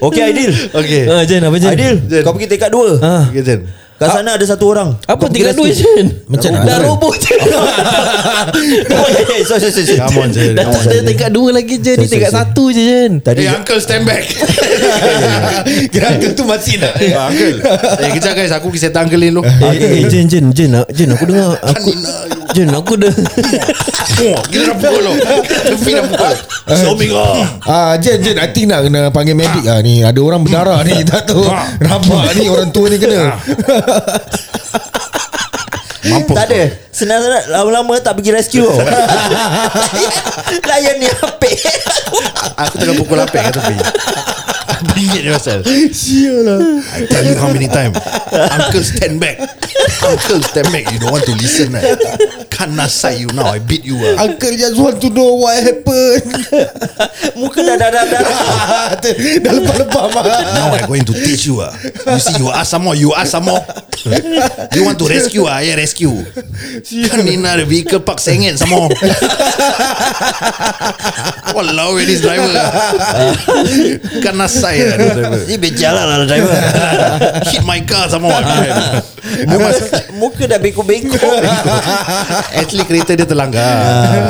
Speaker 3: Okay, Aidil.
Speaker 2: Okay.
Speaker 1: Ah, Jen, apa, Jen?
Speaker 3: Aidil, kau pergi tekad 2.
Speaker 1: Ah.
Speaker 2: Okay, Jen.
Speaker 3: Kat sana ada satu orang.
Speaker 1: Apa
Speaker 3: Kau pergi
Speaker 1: tingkat dua,
Speaker 3: rescue.
Speaker 1: Jen?
Speaker 6: Macam mana?
Speaker 1: Dah roboh, [laughs] Jen.
Speaker 3: Oh, yeah, yeah, so, so, so, so.
Speaker 2: Come on, Jen.
Speaker 1: Dah tak ada tingkat dua lagi, Jen. Ni tingkat satu je, Jen.
Speaker 2: Eh, uncle, stand back. [laughs] Kira uncle tu masih nak. Eh, uncle. Eh, kejap, guys. Aku pergi settle uncle ni
Speaker 1: [laughs]
Speaker 2: dulu.
Speaker 1: Eh, eh, Jen, Jen, Jen, ah, Jen, aku dengar aku Jun aku dah [laughs]
Speaker 2: Ah, Kita dah pukul lo Tepi dah pukul
Speaker 3: Suami kau
Speaker 6: Ah, Jen, Jen, I think nak kena panggil medik ah ni. Ada orang berdarah
Speaker 2: [laughs]
Speaker 6: ni, tak tahu.
Speaker 2: Ah.
Speaker 6: Rabak ni orang tua ni kena.
Speaker 2: Mampus
Speaker 3: Tak ada Senang-senang Lama-lama tak pergi rescue [laughs] tau. Layan ni apa
Speaker 2: Aku tengah pukul lapik kat [laughs] tepi Bingit ni pasal Sialah I tell you how many time Uncle stand back Uncle stand back You don't want to listen eh. Can't nasai you now I beat you ah.
Speaker 6: Uncle just want to know what happened.
Speaker 3: Muka dah dah dah dah
Speaker 6: Dah lepas-lepas mah.
Speaker 2: Now I'm going to teach you ah. You see you ask some more You ask some more You want to rescue ah, Yeah rescue Kan Nina the vehicle park sengit some more Walao eh this driver Kan nasai lah this driver
Speaker 3: Ni berjalan lah driver
Speaker 2: [laughs] Hit my car
Speaker 6: [laughs]
Speaker 2: some more Kan?
Speaker 3: Muka,
Speaker 2: [laughs]
Speaker 3: [laughs] muka dah bengkok-bengkok
Speaker 2: Actually kereta dia terlanggar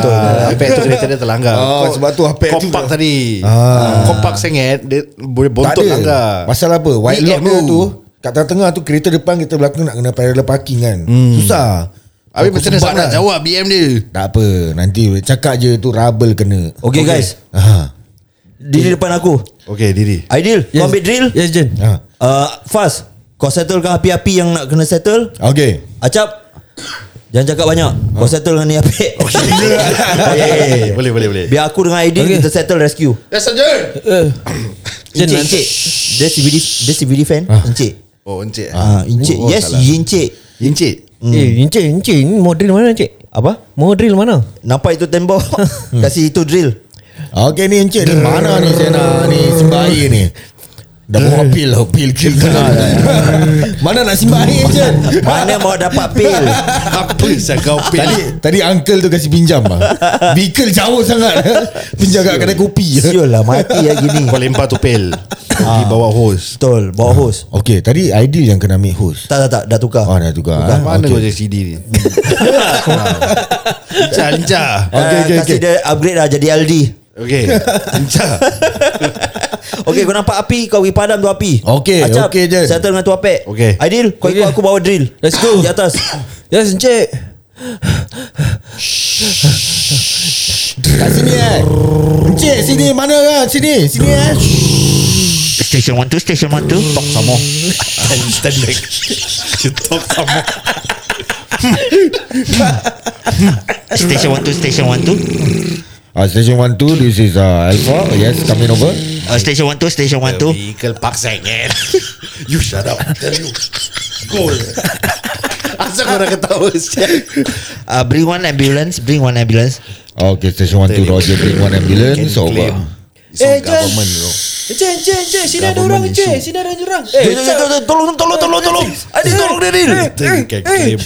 Speaker 2: Betul Apa [laughs] tu kereta dia terlanggar Ah.
Speaker 6: Oh,
Speaker 2: Ah. Kau-
Speaker 6: sebab tu Apek tu-
Speaker 2: Kompak tadi Kompak sengit Dia boleh bontot langgar
Speaker 6: Masalah apa White
Speaker 2: Ni
Speaker 6: lock dia
Speaker 2: MU.
Speaker 6: tu Kat tengah-tengah tu Kereta depan Kereta belakang nak kena Parallel parking kan Susah
Speaker 2: Habis
Speaker 6: Aku
Speaker 2: macam mana
Speaker 6: sebat
Speaker 2: Sam nak
Speaker 6: lah.
Speaker 2: jawab BM dia
Speaker 6: Tak apa Nanti cakap je tu Rubble kena
Speaker 3: Okay guys
Speaker 6: ha.
Speaker 3: Diri depan aku
Speaker 2: Okay diri
Speaker 3: Aidil yes. Kau ambil drill
Speaker 1: Yes Jun
Speaker 6: ha.
Speaker 3: uh, Fast Kau settlekan api-api Yang nak kena settle
Speaker 6: Okay
Speaker 3: Acap Jangan cakap banyak Kau settle dengan ni api Ah. [laughs] Okay, okay.
Speaker 2: Eh, Boleh boleh boleh
Speaker 3: Biar aku dengan Aidil okay. Kita settle rescue
Speaker 2: Yes Sanjay
Speaker 3: Encik, encik Dia CVD Dia CVD fan Encik
Speaker 2: Oh encik
Speaker 3: Ah, Encik
Speaker 2: Oh,
Speaker 3: Yes
Speaker 2: salah.
Speaker 3: encik
Speaker 2: Encik
Speaker 1: Eh encik encik ni Mau drill mana encik
Speaker 3: Apa?
Speaker 1: Mau drill mana
Speaker 3: Nampak itu tembok Kasih itu drill
Speaker 6: Okay ni encik ni Mana ni Sena ni Simbah air ni Dah bawa pil lah Pil kil kena Mana nak simbah air encik
Speaker 3: [laughs] Mana mau dapat pil
Speaker 2: Apa sah [laughs] kau pil
Speaker 6: Tadi tadi uncle tu kasi pinjam lah Vehicle jauh sangat [laughs] Pinjam kat kedai kopi
Speaker 3: Siul lah mati ya gini
Speaker 2: Kau lempar tu pil Pergi bawa hose
Speaker 3: Betul Bawa hose
Speaker 6: Okay tadi Aidil yang kena ambil host
Speaker 3: Tak tak tak Dah tukar
Speaker 6: Oh dah tukar eh?
Speaker 2: Mana kau jadi CD [laughs] ni Ah. Lincah lincah
Speaker 3: Ah,
Speaker 6: Okay, okay,
Speaker 3: Kasih
Speaker 6: okay.
Speaker 3: dia upgrade dah Jadi LD
Speaker 2: Okay Lincah
Speaker 3: Okay kau nampak api Kau pergi padam tu api
Speaker 6: Okay, okay, Jen.
Speaker 3: Settle dengan tu apek
Speaker 2: Okay.
Speaker 3: Aidil Kau ikut
Speaker 1: Okay.
Speaker 3: aku bawa drill
Speaker 1: Let's go.
Speaker 3: Di atas
Speaker 1: Yes encik
Speaker 6: Kat sini eh Encik sini mana kan Sini Sini eh
Speaker 4: Station 1 2 Station 1 2 Tok sama
Speaker 2: [laughs] Stand back You talk some more
Speaker 4: Station 1 2 Station 1 2
Speaker 6: uh, Station 1 2 This is uh, Alpha Yes coming over
Speaker 4: uh, Station 1 2 Station 1 2
Speaker 2: Vehicle park sengit [laughs] You shut up I Tell you Goal [laughs] Asal kau dah ketawa sial?
Speaker 4: uh, Bring one ambulance Bring one ambulance
Speaker 6: Okay Station 1 2 Roger bring one ambulance
Speaker 2: Can
Speaker 6: Over
Speaker 2: claim. It's
Speaker 1: Eh,
Speaker 2: on
Speaker 1: Jen.
Speaker 2: government bro
Speaker 1: Encik encik encik Sini ada orang encik Sini ada orang Eh
Speaker 3: Tolong tolong tolong tolong tolong Eh, Aidil tolong dia Aidil
Speaker 2: Then you
Speaker 6: eh,
Speaker 2: can claim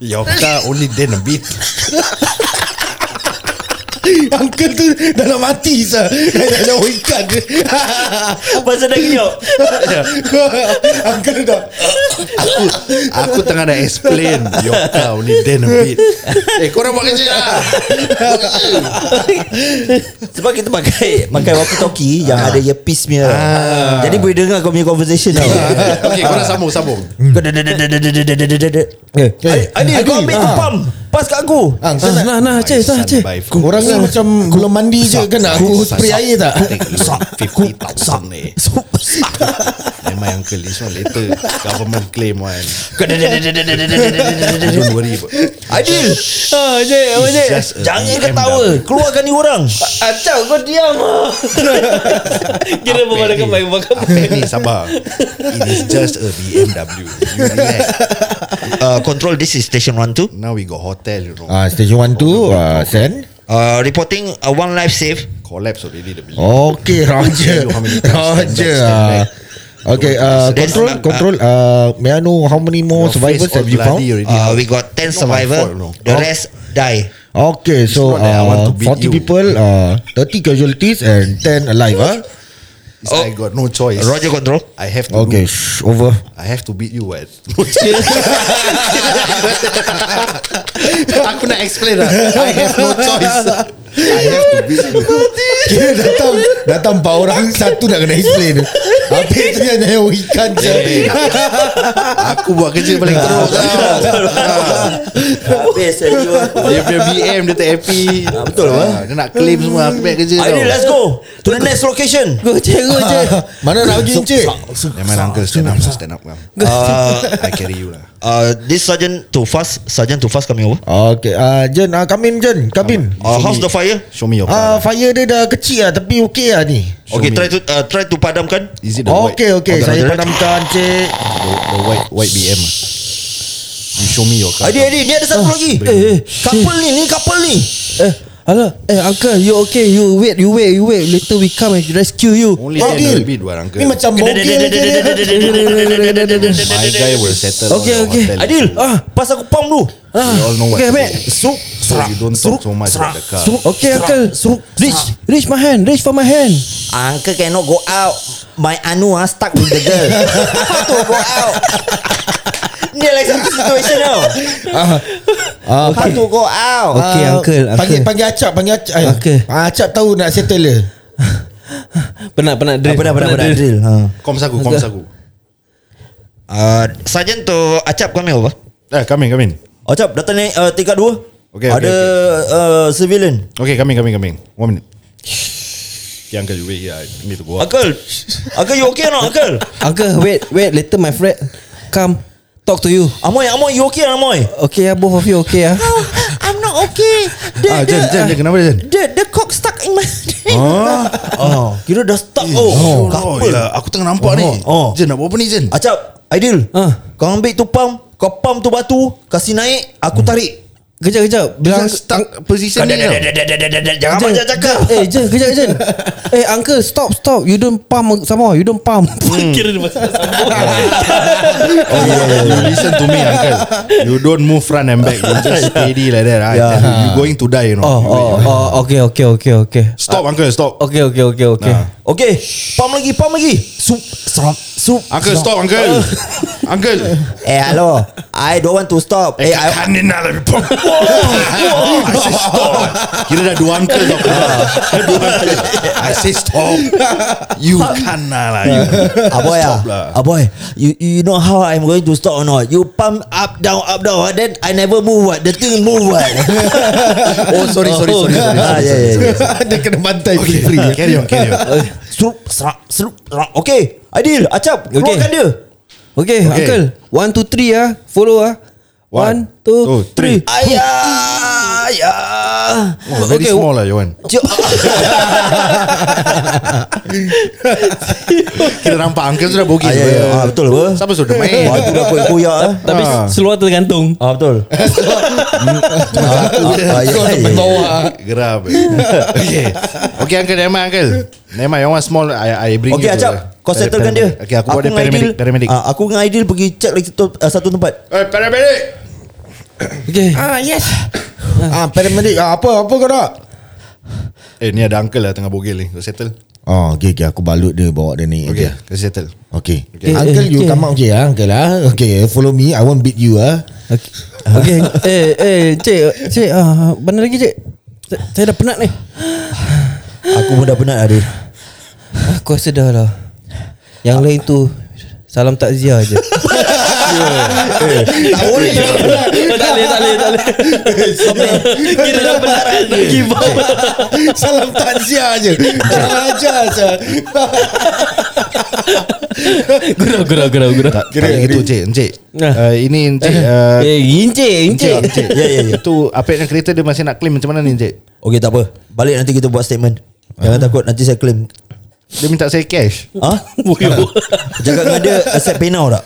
Speaker 2: Your car only then a bit
Speaker 6: [laughs] Uncle tu Dah nak mati sah Dah nak jauh ikan dia
Speaker 3: Pasal dah giok
Speaker 2: [laughs]
Speaker 6: Uncle dah
Speaker 2: Ya. Aku Aku tengah nak explain Your car only then a bit Eh korang buat kerja lah
Speaker 3: [laughs] Sebab kita pakai Pakai walkie talkie Yang
Speaker 1: Ah.
Speaker 3: ada earpiece punya Jadi boleh dengar Kau punya conversation tau
Speaker 2: [laughs] Okay korang sambung sambung
Speaker 3: Kau dah- dah- dah- dah- dah- dah- dah- dah- dah- dah- dah.
Speaker 1: Eh
Speaker 3: Aidil Aidil, kau ambil tu
Speaker 6: ah.
Speaker 3: pump Pas kat aku
Speaker 6: Ang,
Speaker 1: Ah, Nah nah
Speaker 6: Eh,
Speaker 1: encik Nah encik
Speaker 6: Orang ni macam Belum mandi je Kan nak aku spray air tak
Speaker 2: Sub 50,000 ni Memang uncle This one later Government claim one
Speaker 3: Kau dah- dah- dah- dah- dah- dah- dah- dah- dah- dah- dah- dah- dah.
Speaker 2: Don't worry about it.
Speaker 3: Aidil
Speaker 1: Ah, Encik apa encik
Speaker 2: It's just a
Speaker 3: Jangan
Speaker 2: BMW.
Speaker 3: ketawa Keluarkan ni orang
Speaker 1: Acau kau diam ah. Kira bawa dekat mic bakal
Speaker 2: Apa ni sabar It is just a BMW You relax
Speaker 4: uh, Control this is Station 1 2
Speaker 2: Now we got hotel you know
Speaker 6: Ah, Station 1
Speaker 2: Oh,
Speaker 6: 2 uh, Send
Speaker 4: uh, Reporting uh, One life save
Speaker 2: Collapse already the building
Speaker 6: Okay Roger
Speaker 2: Tell you how many times stand
Speaker 6: Roger uh,
Speaker 2: back, stand back.
Speaker 6: Okay uh,
Speaker 4: That's
Speaker 6: Control
Speaker 4: not-
Speaker 6: Control uh, May I know How many more
Speaker 2: lah. Your face
Speaker 6: survivors
Speaker 2: all
Speaker 6: Have you found
Speaker 2: bloody already.
Speaker 4: uh, We got 10
Speaker 2: Not my
Speaker 4: survivor
Speaker 2: fault, no.
Speaker 4: The rest die
Speaker 6: Okay, so
Speaker 2: not that I want
Speaker 6: uh,
Speaker 2: to beat
Speaker 6: 40
Speaker 2: you.
Speaker 6: people, uh, 30 casualties and 10 alive. Ah,
Speaker 2: It's I got no choice
Speaker 4: Roger control
Speaker 2: I have to
Speaker 6: Okay,
Speaker 2: okay.
Speaker 6: shh, over.
Speaker 2: I have to beat you what No [laughs] choice. Aku nak explain lah I have no choice I have to be
Speaker 10: Kira datang Datang empat orang Satu nak kena explain Habis tu yang yang ikan je
Speaker 2: Hey, Aku buat kerja paling teruk lah. tau
Speaker 3: Habis everyone.
Speaker 2: Dia punya BM Dia tak happy Betul lah Dia nak claim semua Aku punya kerja
Speaker 3: Aidil
Speaker 2: tau
Speaker 3: let's go To the next location
Speaker 1: Go
Speaker 2: [laughs]
Speaker 1: cikgu je
Speaker 10: Mana nak pergi encik
Speaker 2: Never mind uncle Stand up lah, Stand up I carry you lah
Speaker 4: Uh, this sergeant to fast, sergeant to fast coming over.
Speaker 10: Okay uh, Jen uh, Come in Jen Come in
Speaker 4: Uh, how's the fire?
Speaker 2: Show me your
Speaker 10: uh,
Speaker 2: plan
Speaker 10: Fire dia dah kecil lah Tapi okey lah ni
Speaker 2: Show
Speaker 4: okay,
Speaker 2: me.
Speaker 4: try to uh, try to padamkan.
Speaker 2: Is it the white Oh,
Speaker 10: Okay okay
Speaker 2: the,
Speaker 10: Saya
Speaker 4: dah-
Speaker 10: padamkan encik
Speaker 2: the white white BM ah. You show me your card
Speaker 3: Aidil Aidil Ni ada satu
Speaker 2: Ah,
Speaker 3: lagi
Speaker 1: Eh eh
Speaker 3: Couple ni Ni couple ni
Speaker 1: Eh Hello Eh uncle you okay You wait you wait you wait Later we come and rescue you
Speaker 2: Only
Speaker 10: Aidil.
Speaker 2: Aidil Bid buat uncle
Speaker 10: Ni macam bogel je dia
Speaker 2: My guy will settle
Speaker 1: Okay,
Speaker 2: all the
Speaker 1: okay. ah.
Speaker 2: hotel.
Speaker 3: Aidil ah, Pas aku pump dulu
Speaker 2: We all know what
Speaker 1: Okay
Speaker 2: to
Speaker 1: mate
Speaker 2: do.
Speaker 1: Seruk
Speaker 2: So you don't talk so much about the car
Speaker 1: Okay uncle Seruk Reach Reach my hand Reach for my hand
Speaker 3: Uncle cannot go out My Anu ah, Stuck with the girl How to go out Ni like satu situation tau
Speaker 10: Ah,
Speaker 3: How to go out
Speaker 1: Okay
Speaker 10: ah,
Speaker 1: uncle
Speaker 10: Panggil
Speaker 1: Uncle
Speaker 10: panggil Acap Panggil Acap eh,
Speaker 1: Uncle.
Speaker 10: ah, Acap tahu nak settle dia
Speaker 9: Penat penat drill.
Speaker 3: Apa dah apa dah apa dah drill ha.
Speaker 1: Ah.
Speaker 2: Koms aku Koms aku
Speaker 4: Uh, sergeant to acap coming over.
Speaker 2: Eh come in come in
Speaker 3: Ocap datang naik uh, tingkat dua
Speaker 2: Okay, okay,
Speaker 3: Ada Uh, civilian
Speaker 2: Okay come in come in come in One minute Okay uncle you wait here I need to go out
Speaker 3: Uncle Uncle you okay or not Uncle
Speaker 1: Uncle wait wait Later my friend Come Talk to you
Speaker 3: Amoy Amoy you okay or not, Amoy
Speaker 1: Okay ah both of you okay ah
Speaker 3: I'm not okay the,
Speaker 2: Ah Jen Jen Jen kenapa Jen
Speaker 3: the, the cock stuck in my [laughs]
Speaker 1: Ah.
Speaker 3: oh, Kira dah stuck
Speaker 2: Oh,
Speaker 3: Oh,
Speaker 2: oh
Speaker 3: couple
Speaker 2: ya, aku tengah nampak ni.
Speaker 3: oh.
Speaker 2: Jen nak buat apa ni Jen?
Speaker 3: Acap Aidil
Speaker 1: Ah.
Speaker 3: Kau ambil tu pump Kau pump tu batu Kasih naik Aku tarik
Speaker 1: Kejap kejap
Speaker 2: Dia
Speaker 1: Bilang
Speaker 2: stuck position ni tau.
Speaker 1: Jen,
Speaker 4: Jangan banyak cakap.
Speaker 1: Jen, Eh Jen kejap Jen Eh uncle stop stop You don't pump some more You don't pump
Speaker 9: Kira dia masuk sambung.
Speaker 2: Oh, yeah, yeah, [laughs] you listen to me, uncle. You don't move front and back. You just [laughs] steady like that. I tell you, you going to die, you know.
Speaker 1: Oh
Speaker 2: You wait,
Speaker 1: oh
Speaker 2: you wait.
Speaker 1: oh Okay okay okay okay
Speaker 2: Stop, uncle. Stop.
Speaker 1: Okay okay okay okay
Speaker 2: Nah.
Speaker 3: Okay Pump lagi Pump lagi Sup Sup Sup
Speaker 2: Uncle, stop, uncle.
Speaker 1: Oh.
Speaker 2: uncle.
Speaker 1: [laughs]
Speaker 3: Eh hello I don't want to stop Eh I
Speaker 2: Kan ni nak lebih pop. I say stop. Kira dah dua uncle tau. Dah dua uncle. I say stop. You can lah. You.
Speaker 3: Aboy ah,
Speaker 2: Stop lah.
Speaker 3: Aboy you, you know how I'm going to stop or not You pump up down up down ah, Then I never move what The thing move what
Speaker 2: [laughs] Oh, sorry, sorry, sorry. sorry,
Speaker 3: Ah,
Speaker 2: sorry,
Speaker 3: yeah, yeah,
Speaker 2: sorry.
Speaker 3: Eh, yeah.
Speaker 10: Dia kena bantai
Speaker 2: Okay,
Speaker 10: free
Speaker 2: carry on, carry on.
Speaker 3: Serup serap serup serap Okay Aidil Acap
Speaker 1: Okay.
Speaker 3: Keluarkan dia
Speaker 1: Okay, okay. uncle One two three ah Follow ah One, two,
Speaker 2: two,
Speaker 1: three.
Speaker 9: Ah,
Speaker 3: Ayah Ayah
Speaker 2: Oh, very
Speaker 1: Okay,
Speaker 2: small lah, Johan.
Speaker 3: Jom
Speaker 2: [laughs] Kira nampak uncle sudah bogey.
Speaker 3: Ah, ya, ya. Ah, betul apa?
Speaker 2: Siapa sudah main?
Speaker 3: Wah tu dah koyak-koyak ah.
Speaker 9: Tapi seluar tergantung.
Speaker 3: Ah betul Ah, ya, ya, ya.
Speaker 2: Geram Okay Okay uncle Never mind uncle Never mind You want small I, I bring
Speaker 3: Okay
Speaker 2: you
Speaker 3: Acap
Speaker 2: to the-
Speaker 3: Kau settlekan dia
Speaker 2: Okay aku, buat dia
Speaker 3: dengan
Speaker 2: paramedic
Speaker 3: Aidil-
Speaker 2: Paramedic
Speaker 3: ah, Aku dengan Aidil pergi check lagi satu, ah, satu tempat
Speaker 2: Eh paramedic
Speaker 1: Okay.
Speaker 10: ah, Paramedic ah, Apa apa kau nak
Speaker 2: Eh ni ada uncle lah Tengah bogel ni Kau settle
Speaker 10: Oh, okay, okay, aku balut dia bawa dia ni.
Speaker 2: Okay
Speaker 6: Ya.
Speaker 10: Okay.
Speaker 2: Kau settle
Speaker 10: Okay.
Speaker 1: Okay,
Speaker 10: Uncle,
Speaker 1: eh,
Speaker 10: you
Speaker 1: okay.
Speaker 10: come out here, ah, uncle. Ah. Okay, follow me. I won't beat you. Ah.
Speaker 1: Okay. okay. eh, eh, cik, cik, ah, mana lagi cik? Saya, saya dah penat ni.
Speaker 3: Aku pun dah penat Aidil
Speaker 1: Aku rasa dah lah. Yang lain tu salam takziah [laughs] je. Ya. Eh,
Speaker 3: Tak boleh
Speaker 9: Oh, tak boleh, tak boleh, tak boleh. Kira dah penat. Give up.
Speaker 10: Salam takziah je. Jangan ajar saja.
Speaker 9: Gurau, gurau, gurau, gurau.
Speaker 2: Tak tak gitu Encik Encik
Speaker 9: Nah.
Speaker 2: Eh, Ini Encik eh,
Speaker 1: eh, incik, incik.
Speaker 2: Encik
Speaker 3: Ya, ya, ya.
Speaker 2: Tu apa yang kereta dia masih nak claim Macam mana ni Encik
Speaker 3: Okay tak apa Balik nanti kita buat statement Jangan takut nanti saya claim
Speaker 2: Dia minta saya cash
Speaker 1: [laughs]
Speaker 3: Ha? Jaga dengan dia Accept pay now tak?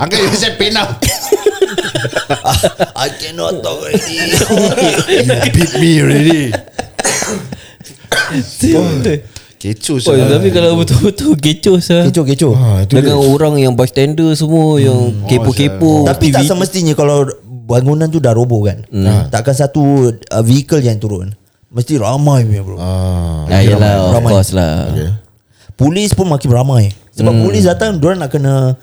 Speaker 2: Uncle you accept pay now
Speaker 3: I cannot talk already
Speaker 2: You beat me already Kecoh
Speaker 9: Oh,
Speaker 2: sial.
Speaker 9: tapi kalau betul-betul kecoh sah.
Speaker 3: [laughs] Kecoh kecoh
Speaker 10: Ah, itu
Speaker 1: Dengan
Speaker 10: dia.
Speaker 1: orang yang bystander semua yang kepo-kepo.
Speaker 3: Tapi tak semestinya Kalau bangunan tu dah roboh kan
Speaker 1: Hmm.
Speaker 3: Takkan satu uh, Vehicle yang turun Mesti ramai punya
Speaker 6: Ha.
Speaker 3: bro
Speaker 10: Ah.
Speaker 9: Ah, yalah, of
Speaker 3: Ramai.
Speaker 9: course lah.
Speaker 3: Polis pun makin ramai Sebab polis datang Diorang nak kena uh,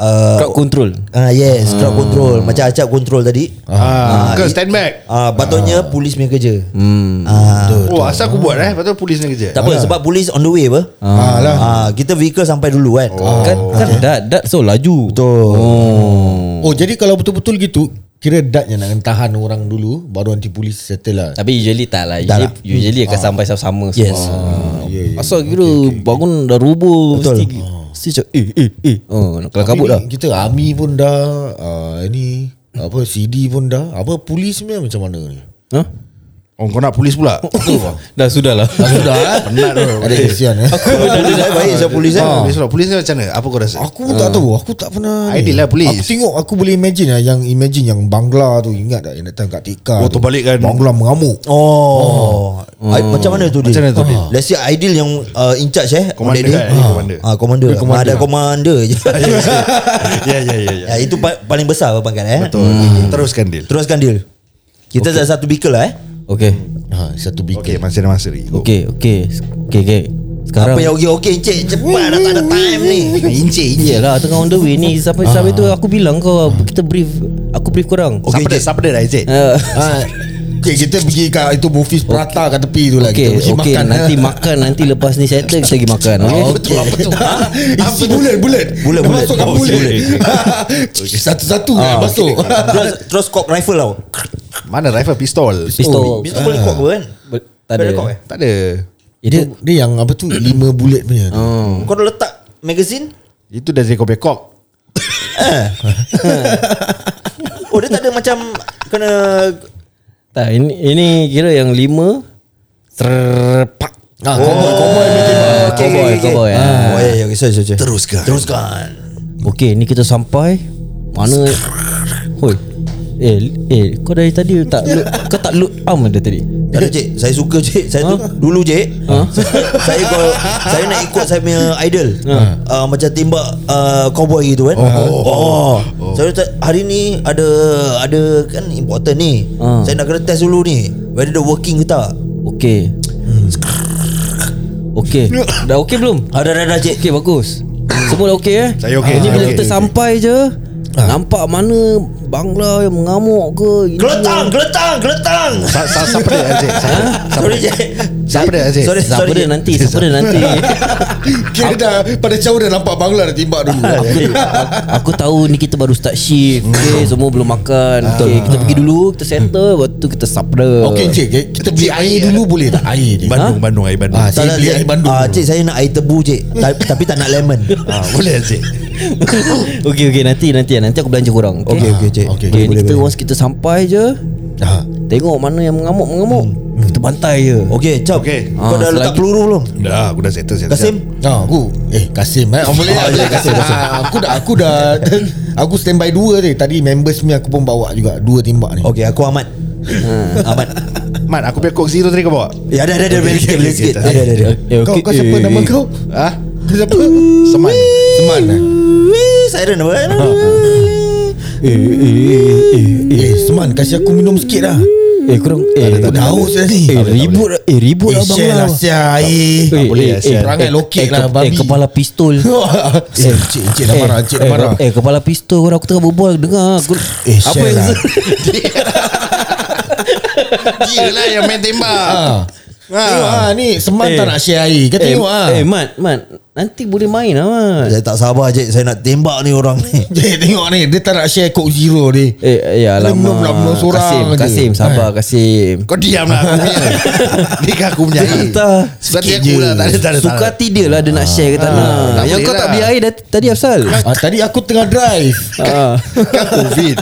Speaker 1: Hmm. Crowd control
Speaker 3: Ah yes, crowd control macam acap control tadi.
Speaker 2: Ah, Uncle
Speaker 3: it-
Speaker 2: stand back
Speaker 3: Ah patutnya polis punya kerja.
Speaker 1: Hmm
Speaker 3: Ah.
Speaker 2: Oh asal aku buat eh Lepas tu polis ni kerja
Speaker 3: Tak apa sebab polis on the way apa.
Speaker 6: Ah, lah.
Speaker 3: Ah kita vehicle sampai dulu kan.
Speaker 1: Kan kan dat dat so laju Betul Oh
Speaker 6: Oh jadi kalau betul-betul gitu Kira dat je nak tahan orang dulu Baru nanti polis settle lah
Speaker 1: Tapi usually tak lah Usually,
Speaker 3: lah.
Speaker 1: usually akan sampai sama-sama Ah.
Speaker 3: Yes.
Speaker 1: semua. Pasal kira bangun dah roboh Betul Mesti, mesti macam eh eh eh oh, nak Kalau kabut
Speaker 6: Tapi
Speaker 2: lah.
Speaker 1: dah
Speaker 6: ni Kita army pun dah uh, Ini Apa CD pun dah Apa polis ni macam mana ni
Speaker 1: ha?
Speaker 2: Oh kau nak polis [laughs] pula
Speaker 1: Dah sudah lah
Speaker 6: Sudah eh
Speaker 2: Penat tu
Speaker 6: Ada kesian eh
Speaker 3: Polis saya baik saya polis
Speaker 2: Polis
Speaker 3: saya.
Speaker 2: kan Polis pula Polis ni macam mana Apa kau rasa
Speaker 6: Aku pun tak tahu Aku tak pernah ni.
Speaker 2: Ah. Ideal lah polis.
Speaker 6: Aku tengok Aku boleh imagine lah Yang imagine yang Bangla tu Ingat tak yang datang kat Tika
Speaker 2: Oh,
Speaker 6: tu.
Speaker 2: terbalik kan.
Speaker 6: Bangla mengamuk
Speaker 3: Oh. I, macam mana tu dia?
Speaker 2: Macam mana tu, Dil?
Speaker 3: Let's say Aidil yang uh, in charge eh. on that
Speaker 2: Commander kan,
Speaker 3: day.
Speaker 2: dia commander. lah.
Speaker 3: Ah commander. Ah, ada commander
Speaker 2: [laughs]
Speaker 3: je.
Speaker 2: Ya ya ya ya.
Speaker 3: ya, itu pa- paling besar apa pangkat eh.
Speaker 2: Betul Teruskan deal
Speaker 3: Teruskan Dil. Kita dah satu bekel lah eh.
Speaker 1: Okay
Speaker 6: ha, Satu big
Speaker 2: Okay masih ada masa lagi Go.
Speaker 1: Okay okay Okay okay Sekarang
Speaker 3: Apa yang okey-okey encik cepat dah tak ada time ni. Encik
Speaker 2: Ya,
Speaker 3: encik.
Speaker 1: Yelah Ya lah, tengah on the way ni Sampai, sampai tu aku bilang kau Kita brief Aku brief korang
Speaker 2: Siapa dia Siapa dia dah Encik
Speaker 1: Ah.
Speaker 6: ha, okay, Kita pergi kat Itu buffet Prata kat tepi tu
Speaker 1: [laughs]
Speaker 6: lah
Speaker 1: Okay,
Speaker 6: Kita pergi
Speaker 1: okay,
Speaker 6: makan
Speaker 1: nanti makan Nanti lepas ni settle Kita pergi makan okay?
Speaker 6: Betul apa tu [laughs] Isi bulat bulat
Speaker 3: Bulat, bulat.
Speaker 6: Masukkan
Speaker 3: Oh,
Speaker 6: bulat [laughs] Ah, Satu-satu kan Masuk
Speaker 3: [laughs] terus terus cock rifle tau.
Speaker 2: Mana rifle pistol
Speaker 1: Pistol
Speaker 3: Bila boleh cock apa kan?
Speaker 1: Ber- Tak
Speaker 3: Boleh cock
Speaker 1: ada
Speaker 3: eh?
Speaker 2: Ah. Tak ada
Speaker 6: Dia dia yang apa tu Lima bulat punya tu.
Speaker 2: Hmm.
Speaker 3: Kau dah letak magazine?
Speaker 2: Itu dah Jacob Bekok
Speaker 3: Oh dia tak ada macam kena
Speaker 1: Tak ini, ini kira yang lima Serpak
Speaker 6: Ah,
Speaker 2: Oh,
Speaker 6: Cowboy Cowboy
Speaker 2: eh,
Speaker 6: punya tembak.
Speaker 3: okay,
Speaker 1: Cowboy,
Speaker 3: okay, okay.
Speaker 1: cowboy,
Speaker 3: Ah.
Speaker 1: ah.
Speaker 3: Oh ya ya okay, sorry, sorry, sorry.
Speaker 2: Teruskan
Speaker 3: Teruskan.
Speaker 1: Okey, ni kita sampai mana Hoi. Eh, eh kau dari tadi tak
Speaker 2: [laughs]
Speaker 1: load, kau tak load arm dah tadi.
Speaker 3: Tak ada cik Saya suka cik Saya tu Dulu cik [laughs] Saya kalau Saya nak ikut saya punya idol uh, Macam tembak uh, Cowboy gitu kan Oh, oh. Saya tak, Hari ni Ada Ada kan important ni
Speaker 1: Ah.
Speaker 3: Saya nak kena test dulu ni Whether the working ke tak
Speaker 1: Okey.
Speaker 2: Hmm.
Speaker 1: Okey. Dah okey belum?
Speaker 3: Ada Ah, dah dah cik
Speaker 1: Okey bagus. Semua dah okey eh?
Speaker 2: Saya okey,
Speaker 1: Ini
Speaker 2: saya
Speaker 1: bila
Speaker 2: okey, Ah.
Speaker 1: kita
Speaker 2: saya
Speaker 1: sampai je nampak mana Bangla yang mengamuk ke ini
Speaker 3: Geletang Geletang Geletang
Speaker 2: Sa- sa- Siapa dia Encik Siapa- siapa
Speaker 3: Sorry
Speaker 2: dia?
Speaker 3: cik
Speaker 2: Siapa dia Encik
Speaker 3: Sorry
Speaker 1: Siapa
Speaker 3: sorry
Speaker 1: dia
Speaker 3: cik.
Speaker 1: nanti? Siapa dia nanti?
Speaker 2: [laughs]
Speaker 6: Kira dah Pada jauh dah nampak Bangla dah timbak
Speaker 1: [laughs]
Speaker 6: dulu
Speaker 1: Ah, Aku tahu ni kita baru start shift.
Speaker 6: Hmm.
Speaker 1: Okey, semua belum makan. Okey, kita pergi dulu, kita settle, lepas tu kita supper.
Speaker 6: Okey Hmm.
Speaker 1: [laughs]
Speaker 6: cik Kita beli air dulu boleh tak Air je
Speaker 2: Bandung Bandung air Bandung
Speaker 6: Ah,
Speaker 3: Tak nak
Speaker 6: saya beli
Speaker 3: cik.
Speaker 6: air Bandung
Speaker 3: Ah, Cik saya nak air tebu cik Ta- Tapi tak nak
Speaker 6: [laughs]
Speaker 3: lemon
Speaker 2: Ah, Boleh Encik
Speaker 1: Okey okey nanti nanti nanti aku belanja korang. Okey
Speaker 3: Okey, okey,
Speaker 1: Okey
Speaker 3: cik.
Speaker 6: Boleh,
Speaker 1: okay,
Speaker 6: boleh,
Speaker 1: kita
Speaker 6: boleh.
Speaker 1: once kita sampai je
Speaker 6: Ah.
Speaker 1: tengok mana yang mengamuk mengamuk. Hmm. Kita bantai je.
Speaker 3: Okay Cap
Speaker 2: Okey.
Speaker 3: Kau
Speaker 1: Ah,
Speaker 3: dah letak
Speaker 1: selagi-
Speaker 3: peluru belum
Speaker 2: Dah aku dah settle settle.
Speaker 3: Kasim
Speaker 6: Ah, aku Eh Kasim eh Boleh ah, boleh Kasim, Kasim. Ah, Aku dah Aku dah [laughs] Aku standby dua tadi Tadi members ni aku pun bawa juga Dua tembak ni
Speaker 3: Okay aku
Speaker 6: [laughs]
Speaker 3: Ahmad Ah, Ahmad
Speaker 2: Mat aku punya coke zero tadi kau bawa
Speaker 3: Ya ada ada ada Boleh sikit Boleh sikit Ada ada ada
Speaker 1: Eh,
Speaker 6: Kau kau siapa nama kau
Speaker 2: Ah,
Speaker 6: Kau siapa
Speaker 2: Seman
Speaker 6: Seman eh?
Speaker 3: Wih, Siren
Speaker 6: [laughs]
Speaker 3: apa
Speaker 6: Ah, Eh Seman Kasih aku minum sikit lah
Speaker 1: Eh kurang eh
Speaker 6: Aku dah haus dah ni
Speaker 1: Eh ribut eh ribut
Speaker 6: Eh
Speaker 1: abang
Speaker 6: share lah
Speaker 1: lah.
Speaker 6: Share air
Speaker 1: Eh,
Speaker 2: boleh
Speaker 1: eh,
Speaker 2: lah,
Speaker 1: eh,
Speaker 2: sial.
Speaker 6: Perangai
Speaker 1: eh,
Speaker 6: lokek
Speaker 1: eh,
Speaker 6: lah,
Speaker 1: ke-
Speaker 6: babi.
Speaker 1: Eh kepala pistol
Speaker 6: Eh, Cik, cik dah marah Cik dah
Speaker 1: eh,
Speaker 6: marah
Speaker 1: Eh kepala pistol korang Aku tengah berbual Dengar aku,
Speaker 6: Eh, share lah.
Speaker 2: Dia lah yang main tembak
Speaker 6: Ah. Tengok ah ni Seman
Speaker 1: Eh.
Speaker 6: tak nak share air Kau
Speaker 1: eh,
Speaker 6: tengok ah [laughs]
Speaker 1: eh Mat Mat Nanti boleh main lah Mat
Speaker 3: Saya tak sabar cik Saya nak tembak ni orang
Speaker 6: [laughs]
Speaker 3: ni
Speaker 6: Dia Eh, tengok ni Dia tak nak share Coke Zero ni
Speaker 1: Eh ya
Speaker 6: Dia menang- menang- menang seorang
Speaker 1: Kasim
Speaker 6: je.
Speaker 1: Kasim
Speaker 2: Eh.
Speaker 1: sabar Kasim
Speaker 2: Kau diam lah aku punya Ni kan aku punya air
Speaker 1: Tak.
Speaker 2: Seperti aku lah Tak ada tak ada tak
Speaker 1: Suka
Speaker 2: ada. Ah,
Speaker 1: hati dia lah dia nak share ke tak nak.
Speaker 2: tak
Speaker 1: Yang
Speaker 2: boleh
Speaker 1: kau
Speaker 2: lah.
Speaker 1: tak beli air dah- tadi Afsal.
Speaker 6: ah, Tadi aku tengah drive
Speaker 1: Ah.
Speaker 2: Kan covid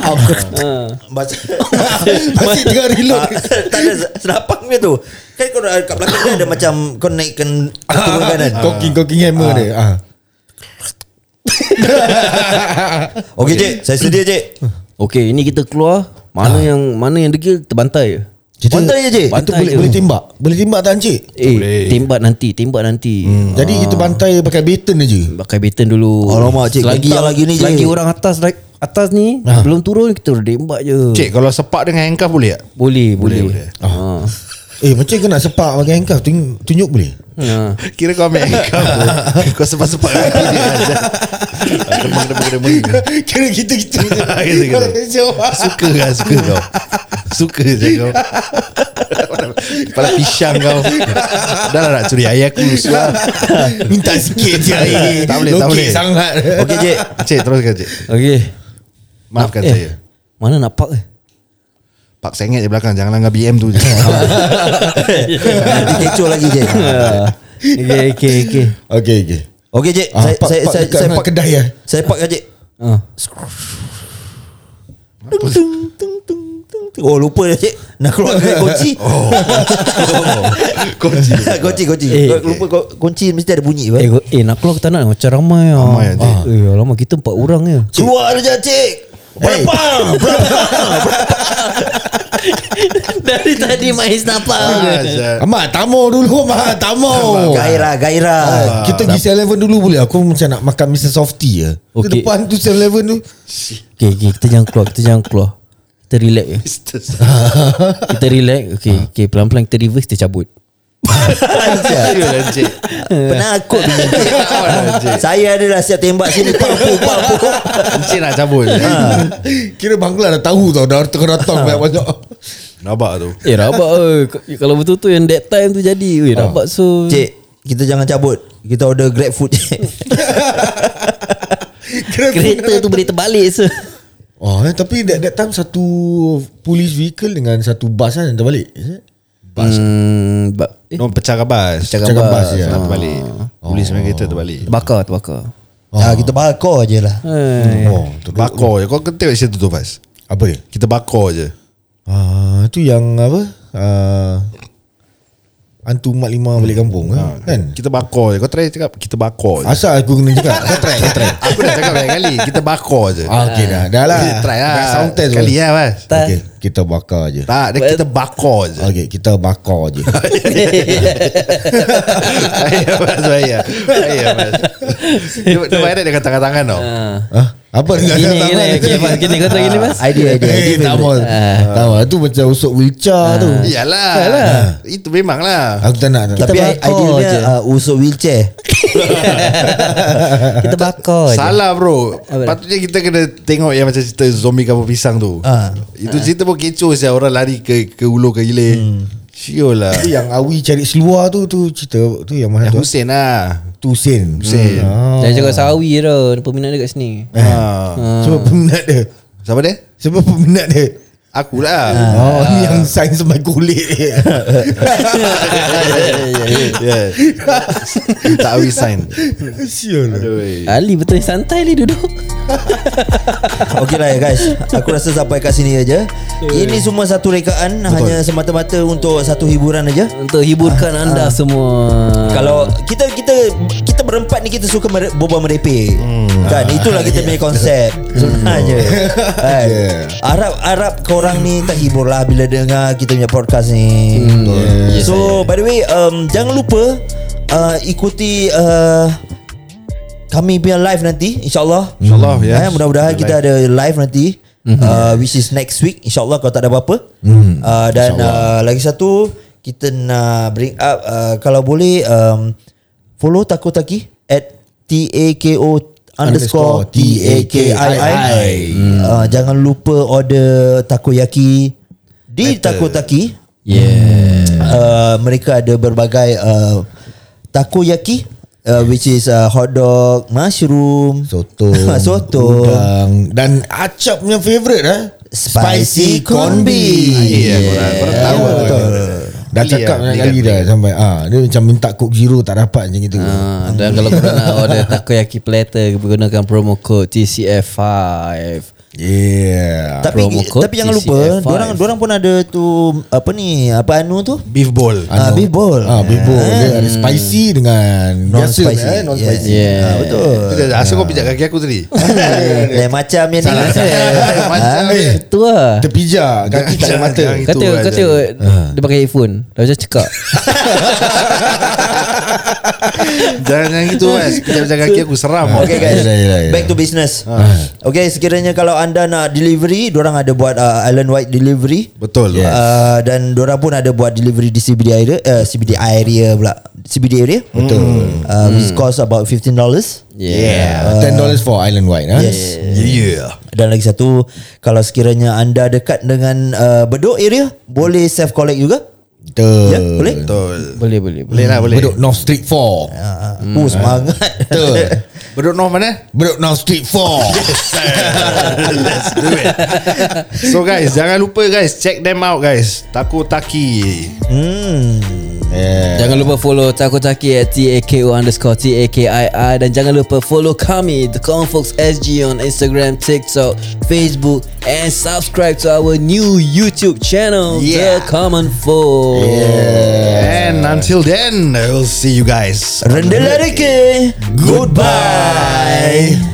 Speaker 6: Aku-
Speaker 3: Ah. Baca
Speaker 6: [laughs]
Speaker 3: Ah,
Speaker 6: Masih tengah reload
Speaker 3: [laughs] Tak ada Senapang dia tu Kan kau dah kat belakang dia ada macam Kau
Speaker 6: [laughs]
Speaker 3: naikkan kan? Turun kanan
Speaker 6: Eh, Coking Coking hammer dia ah.
Speaker 3: Okay cik Saya sedia cik
Speaker 1: [laughs] Okey, ini kita keluar. Mana
Speaker 2: Ah.
Speaker 1: yang mana yang degil terbantai.
Speaker 6: Kita,
Speaker 3: Bantai je cik
Speaker 6: kita
Speaker 1: Bantai
Speaker 6: boleh,
Speaker 1: je.
Speaker 6: boleh tembak Boleh tembak tak Hmm. Ah. Encik
Speaker 1: Eh, tembak nanti, tembak nanti.
Speaker 2: Hmm.
Speaker 6: Jadi kita bantai pakai baton aje
Speaker 1: Pakai baton dulu.
Speaker 3: Alamak, cik,
Speaker 1: Selagi
Speaker 3: gentar lagi ni, cik.
Speaker 1: Lagi orang atas like, atas ni belum turun kita dah tembak je.
Speaker 2: Ah. Cik kalau sepak dengan handcuff boleh tak?
Speaker 1: Boleh, boleh. boleh. Ah.
Speaker 6: Eh macam kena sepak pakai handcuff Tun- Tunjuk boleh
Speaker 1: Ah.
Speaker 9: Ha.
Speaker 2: Kira kau ambil engkau
Speaker 6: [laughs]
Speaker 2: Kau sepak-sepak kaki dia Azan. Demang-demang-demang
Speaker 6: Kira kita
Speaker 2: [laughs]
Speaker 6: kita
Speaker 2: Kira-kira Suka kan Suka kau Suka je kau Kepala pisang kau Dah lah nak curi ayah aku Suar
Speaker 6: Minta sikit je air
Speaker 2: Tak boleh Tak
Speaker 6: Lokek
Speaker 2: boleh
Speaker 6: sangat
Speaker 2: Okey cik Cik teruskan cik
Speaker 9: Okey.
Speaker 2: Maafkan
Speaker 9: eh,
Speaker 2: saya
Speaker 9: Mana nak park eh?
Speaker 2: Pak sengit je belakang Jangan langgar BM
Speaker 6: [laughs]
Speaker 2: tu je
Speaker 3: Nanti kecoh lagi je
Speaker 9: Okey okey okey.
Speaker 6: Okay okay
Speaker 3: Okey je
Speaker 6: ah,
Speaker 3: Saya
Speaker 6: pak,
Speaker 3: saya
Speaker 6: pak
Speaker 3: saya
Speaker 6: dekat
Speaker 3: saya
Speaker 6: dengan
Speaker 3: park
Speaker 6: kedai ya.
Speaker 3: Saya park je
Speaker 9: Ha.
Speaker 3: Oh lupa dah cik Nak keluar [laughs] dari kunci oh. Kunci Kunci kunci
Speaker 9: Eh.
Speaker 3: Kau Lupa kau- kunci mesti ada bunyi
Speaker 9: Eh,
Speaker 3: eh.
Speaker 9: go- eh nak keluar ke tak nak macam ramai ah.
Speaker 2: Ramai, Cik.
Speaker 9: ah. Eh, lama kita empat orang ya.
Speaker 3: Keluar je cik Eh. Berapa [laughs]
Speaker 9: Dari tadi Maiz
Speaker 3: Ah,
Speaker 9: nampak.
Speaker 2: Azan.
Speaker 6: Amat tamu dulu Amat tamu
Speaker 3: Gairah gairah
Speaker 6: Ah, Kita pergi 7-Eleven dulu boleh Aku macam nak makan Mr. Softy je
Speaker 9: Okey.
Speaker 6: okay. Depan tu 7-Eleven tu
Speaker 9: Okey okey kita jangan keluar, kita jangan keluar. Kita relax ya. kita relax. Okey okey pelan-pelan kita reverse kita cabut.
Speaker 2: Sialan cik
Speaker 3: Penakut ni. [laughs] Saya adalah siap tembak [laughs] sini Pampu pampu
Speaker 2: Cik nak cabut je
Speaker 6: Ah. [laughs] Kira Bangla dah tahu tau Dah tengah datang banyak-banyak
Speaker 2: Rabak tu
Speaker 9: Eh rabak eh. K- Kalau betul tu yang that time tu jadi. Weh rabak so.
Speaker 3: Cik Kita jangan cabut Kita order grab food cik
Speaker 9: Kereta tu boleh terbalik so.
Speaker 6: Oh, eh, tapi that, that time satu police vehicle dengan satu bas kan yang terbalik. Is it?
Speaker 9: Hmm, ba- eh,
Speaker 2: No pecah kabas Pecah ya. Oh.
Speaker 6: Macam bas je.
Speaker 2: Tak terbalik Polis dengan kereta terbalik
Speaker 9: terbakar terbakar.
Speaker 3: Ah, Kita bakar je lah
Speaker 9: Hai.
Speaker 6: Oh, tu bak.
Speaker 2: Bakar je Kau kena tengok situ tu Fas
Speaker 6: Apa dia?
Speaker 2: Kita bakar je
Speaker 6: Ah, tu yang apa? Ah, Hantu Mak Lima balik kampung ha, kan?
Speaker 2: Kita bakar je Kau try cakap Kita bakar je
Speaker 6: Asal aku kena cakap? Kau try, kau try.
Speaker 2: Aku dah cakap banyak kali Kita bakar je
Speaker 6: Ah, okay dah. Dah lah. eh.
Speaker 2: Kita Try lah
Speaker 6: Dah sound test.
Speaker 2: Kali
Speaker 6: pun.
Speaker 2: lah Fas
Speaker 6: Okay, kita bakar je.
Speaker 2: Tak dia Kita bakar je
Speaker 6: Okay, kita bakar [laughs] je.
Speaker 2: Bahaya Fas Bahaya Bahaya [laughs] Fas Dia dia bayar dengan tangan-tangan tau
Speaker 6: ha? Apa dengan
Speaker 9: Gini gini
Speaker 6: tangan ni?
Speaker 9: okey mas gini kau tahu gini mas.
Speaker 3: Idea idea
Speaker 6: Eh, tak mahu. Tak mahu. Tu macam usuk wilca tu.
Speaker 2: Iyalah Itu memang lah
Speaker 6: Aku tak nak.
Speaker 3: Tapi
Speaker 9: bakar
Speaker 3: idealnya
Speaker 9: je.
Speaker 3: uh, Usuk wheelchair
Speaker 9: Kita bakar je.
Speaker 2: Salah bro Patutnya kita kena Tengok yang macam cerita Zombie kapur pisang tu
Speaker 3: Ah.
Speaker 2: Itu cerita pun kecoh siapa Orang lari ke ke ulu ke hilir Sure lah
Speaker 6: Tu yang Awi cari seluar tu tu cerita tu yang mana
Speaker 2: Yang
Speaker 6: tu?
Speaker 2: Hussein lah
Speaker 6: Tu Hussein.
Speaker 2: Hussein.
Speaker 6: Hmm.
Speaker 9: Jangan cakap sawi tau Dia Peminat dia kat sini
Speaker 2: ha.
Speaker 6: Ah. Sebab peminat dia.
Speaker 2: Siapa dia?
Speaker 6: [laughs]
Speaker 2: lah.
Speaker 6: Sebab peminat dia.
Speaker 2: Akulah
Speaker 6: Oh, ni yang sign sampai kulit dia.
Speaker 2: [laughs] yeah. Tak awi sign
Speaker 6: Sial lah.
Speaker 9: Ali betul santai dia duduk
Speaker 3: Okey lah ya guys Aku rasa sampai kat sini aja Ini semua satu rekaan Hanya semata-mata Untuk satu hiburan aja
Speaker 9: Untuk hiburkan anda semua
Speaker 3: Kalau kita kita kita berempat ni kita suka mere, berbual merepek. Hmm. Kan itulah kita punya konsep. [laughs] Sebenarnya. Kan? Harap harap korang ni terhibur lah bila dengar kita punya podcast ni. Hmm, Yeah. So by the way um, jangan lupa uh, ikuti uh, kami punya live nanti insyaallah.
Speaker 2: InsyaAllah, yes.
Speaker 3: Eh, mudah-mudahan
Speaker 2: Live.
Speaker 3: kita ada live nanti. Mm-hmm. Uh, which is next week insyaallah kalau tak ada apa-apa. Mm. Uh, dan uh, lagi satu kita nak bring up uh, kalau boleh um, follow Takotaki at T A K O underscore T A K I Hmm. I. Uh, jangan lupa order takoyaki di Takotaki.
Speaker 9: Yeah
Speaker 3: Uh, mereka ada berbagai uh, takoyaki uh, which is uh, hot dog, mushroom,
Speaker 6: Soto
Speaker 3: [laughs] Soto.
Speaker 6: Udang Dan Acap punya favourite eh?
Speaker 3: Spicy corn beef.
Speaker 2: Ya korang Korang tahu
Speaker 6: Betul,
Speaker 2: betul.
Speaker 6: Dah
Speaker 2: Beli
Speaker 6: cakap banyak
Speaker 2: lah, belikan,
Speaker 6: kali dah
Speaker 2: belikan.
Speaker 6: sampai ah dia macam minta Coke Zero tak dapat macam gitu.
Speaker 9: Ah, [laughs] dan kalau korang nak order takoyaki platter gunakan promo code TCF5
Speaker 6: Yeah.
Speaker 3: Tapi
Speaker 9: Promo code
Speaker 3: tapi jangan lupa,
Speaker 9: TCF5.
Speaker 3: orang orang pun ada tu apa ni, apa anu tu?
Speaker 2: Beef ball
Speaker 3: Ah, beef ball. Eh.
Speaker 6: Ah, beef ball. Dia ada spicy dengan biasa
Speaker 3: Non-spicy.
Speaker 6: eh, non-spicy.
Speaker 3: Yeah.
Speaker 9: Yeah
Speaker 3: Ah, betul.
Speaker 2: Asal kau pijak kaki aku tadi
Speaker 3: [laughs] Lain Eh, macam yang ni. [laughs]
Speaker 2: Macam
Speaker 6: Ah, eh,
Speaker 9: Tu lah
Speaker 6: Terpijak kaki tak ada
Speaker 2: Jangan-
Speaker 6: mata.
Speaker 2: jangan
Speaker 9: Kau
Speaker 2: gitu
Speaker 9: tengok,
Speaker 2: lah,
Speaker 9: kau tengok
Speaker 6: Ah.
Speaker 9: Dia pakai headphone Dah macam cekak
Speaker 2: Jangan jangan gitu mas Pijak-pijak kaki aku seram
Speaker 3: Okay guys
Speaker 6: Ah. Yelah, Ah. yelah, yelah.
Speaker 3: Back to business Okay sekiranya kalau anda nak delivery, orang ada buat uh, island wide delivery.
Speaker 2: Betul.
Speaker 3: Yes. Uh, dan orang pun ada buat delivery di CBD area, uh, CBD area pula. CBD area. Betul. Uh,
Speaker 6: Hmm.
Speaker 3: Which cost about $15.
Speaker 6: Yeah. Ten dollars for island ah. wide. Huh?
Speaker 3: Yes.
Speaker 2: Yeah.
Speaker 3: Dan lagi satu, kalau sekiranya anda dekat dengan uh, Bedok area, boleh self collect juga.
Speaker 6: Betul.
Speaker 3: Ya, boleh.
Speaker 2: Betul.
Speaker 1: Boleh boleh boleh.
Speaker 2: Boleh lah boleh.
Speaker 6: Bedok North Street 4.
Speaker 3: Uh, oh semangat.
Speaker 6: Betul.
Speaker 3: [laughs]
Speaker 2: Bedok North mana?
Speaker 6: Bedok North Street 4.
Speaker 2: Let's do it. So guys, jangan lupa guys, check them out guys. Taku Taki.
Speaker 6: yeah.
Speaker 1: Jangan lupa follow Takotaki at T-A-K-O underscore T-A-K-I-I Dan jangan lupa follow kami The Common Folks SG on Instagram, TikTok, Facebook And subscribe to our new YouTube channel The Common Folks
Speaker 2: And until
Speaker 3: lah
Speaker 2: then, I will see you guys.
Speaker 3: Rendah lagi. Goodbye.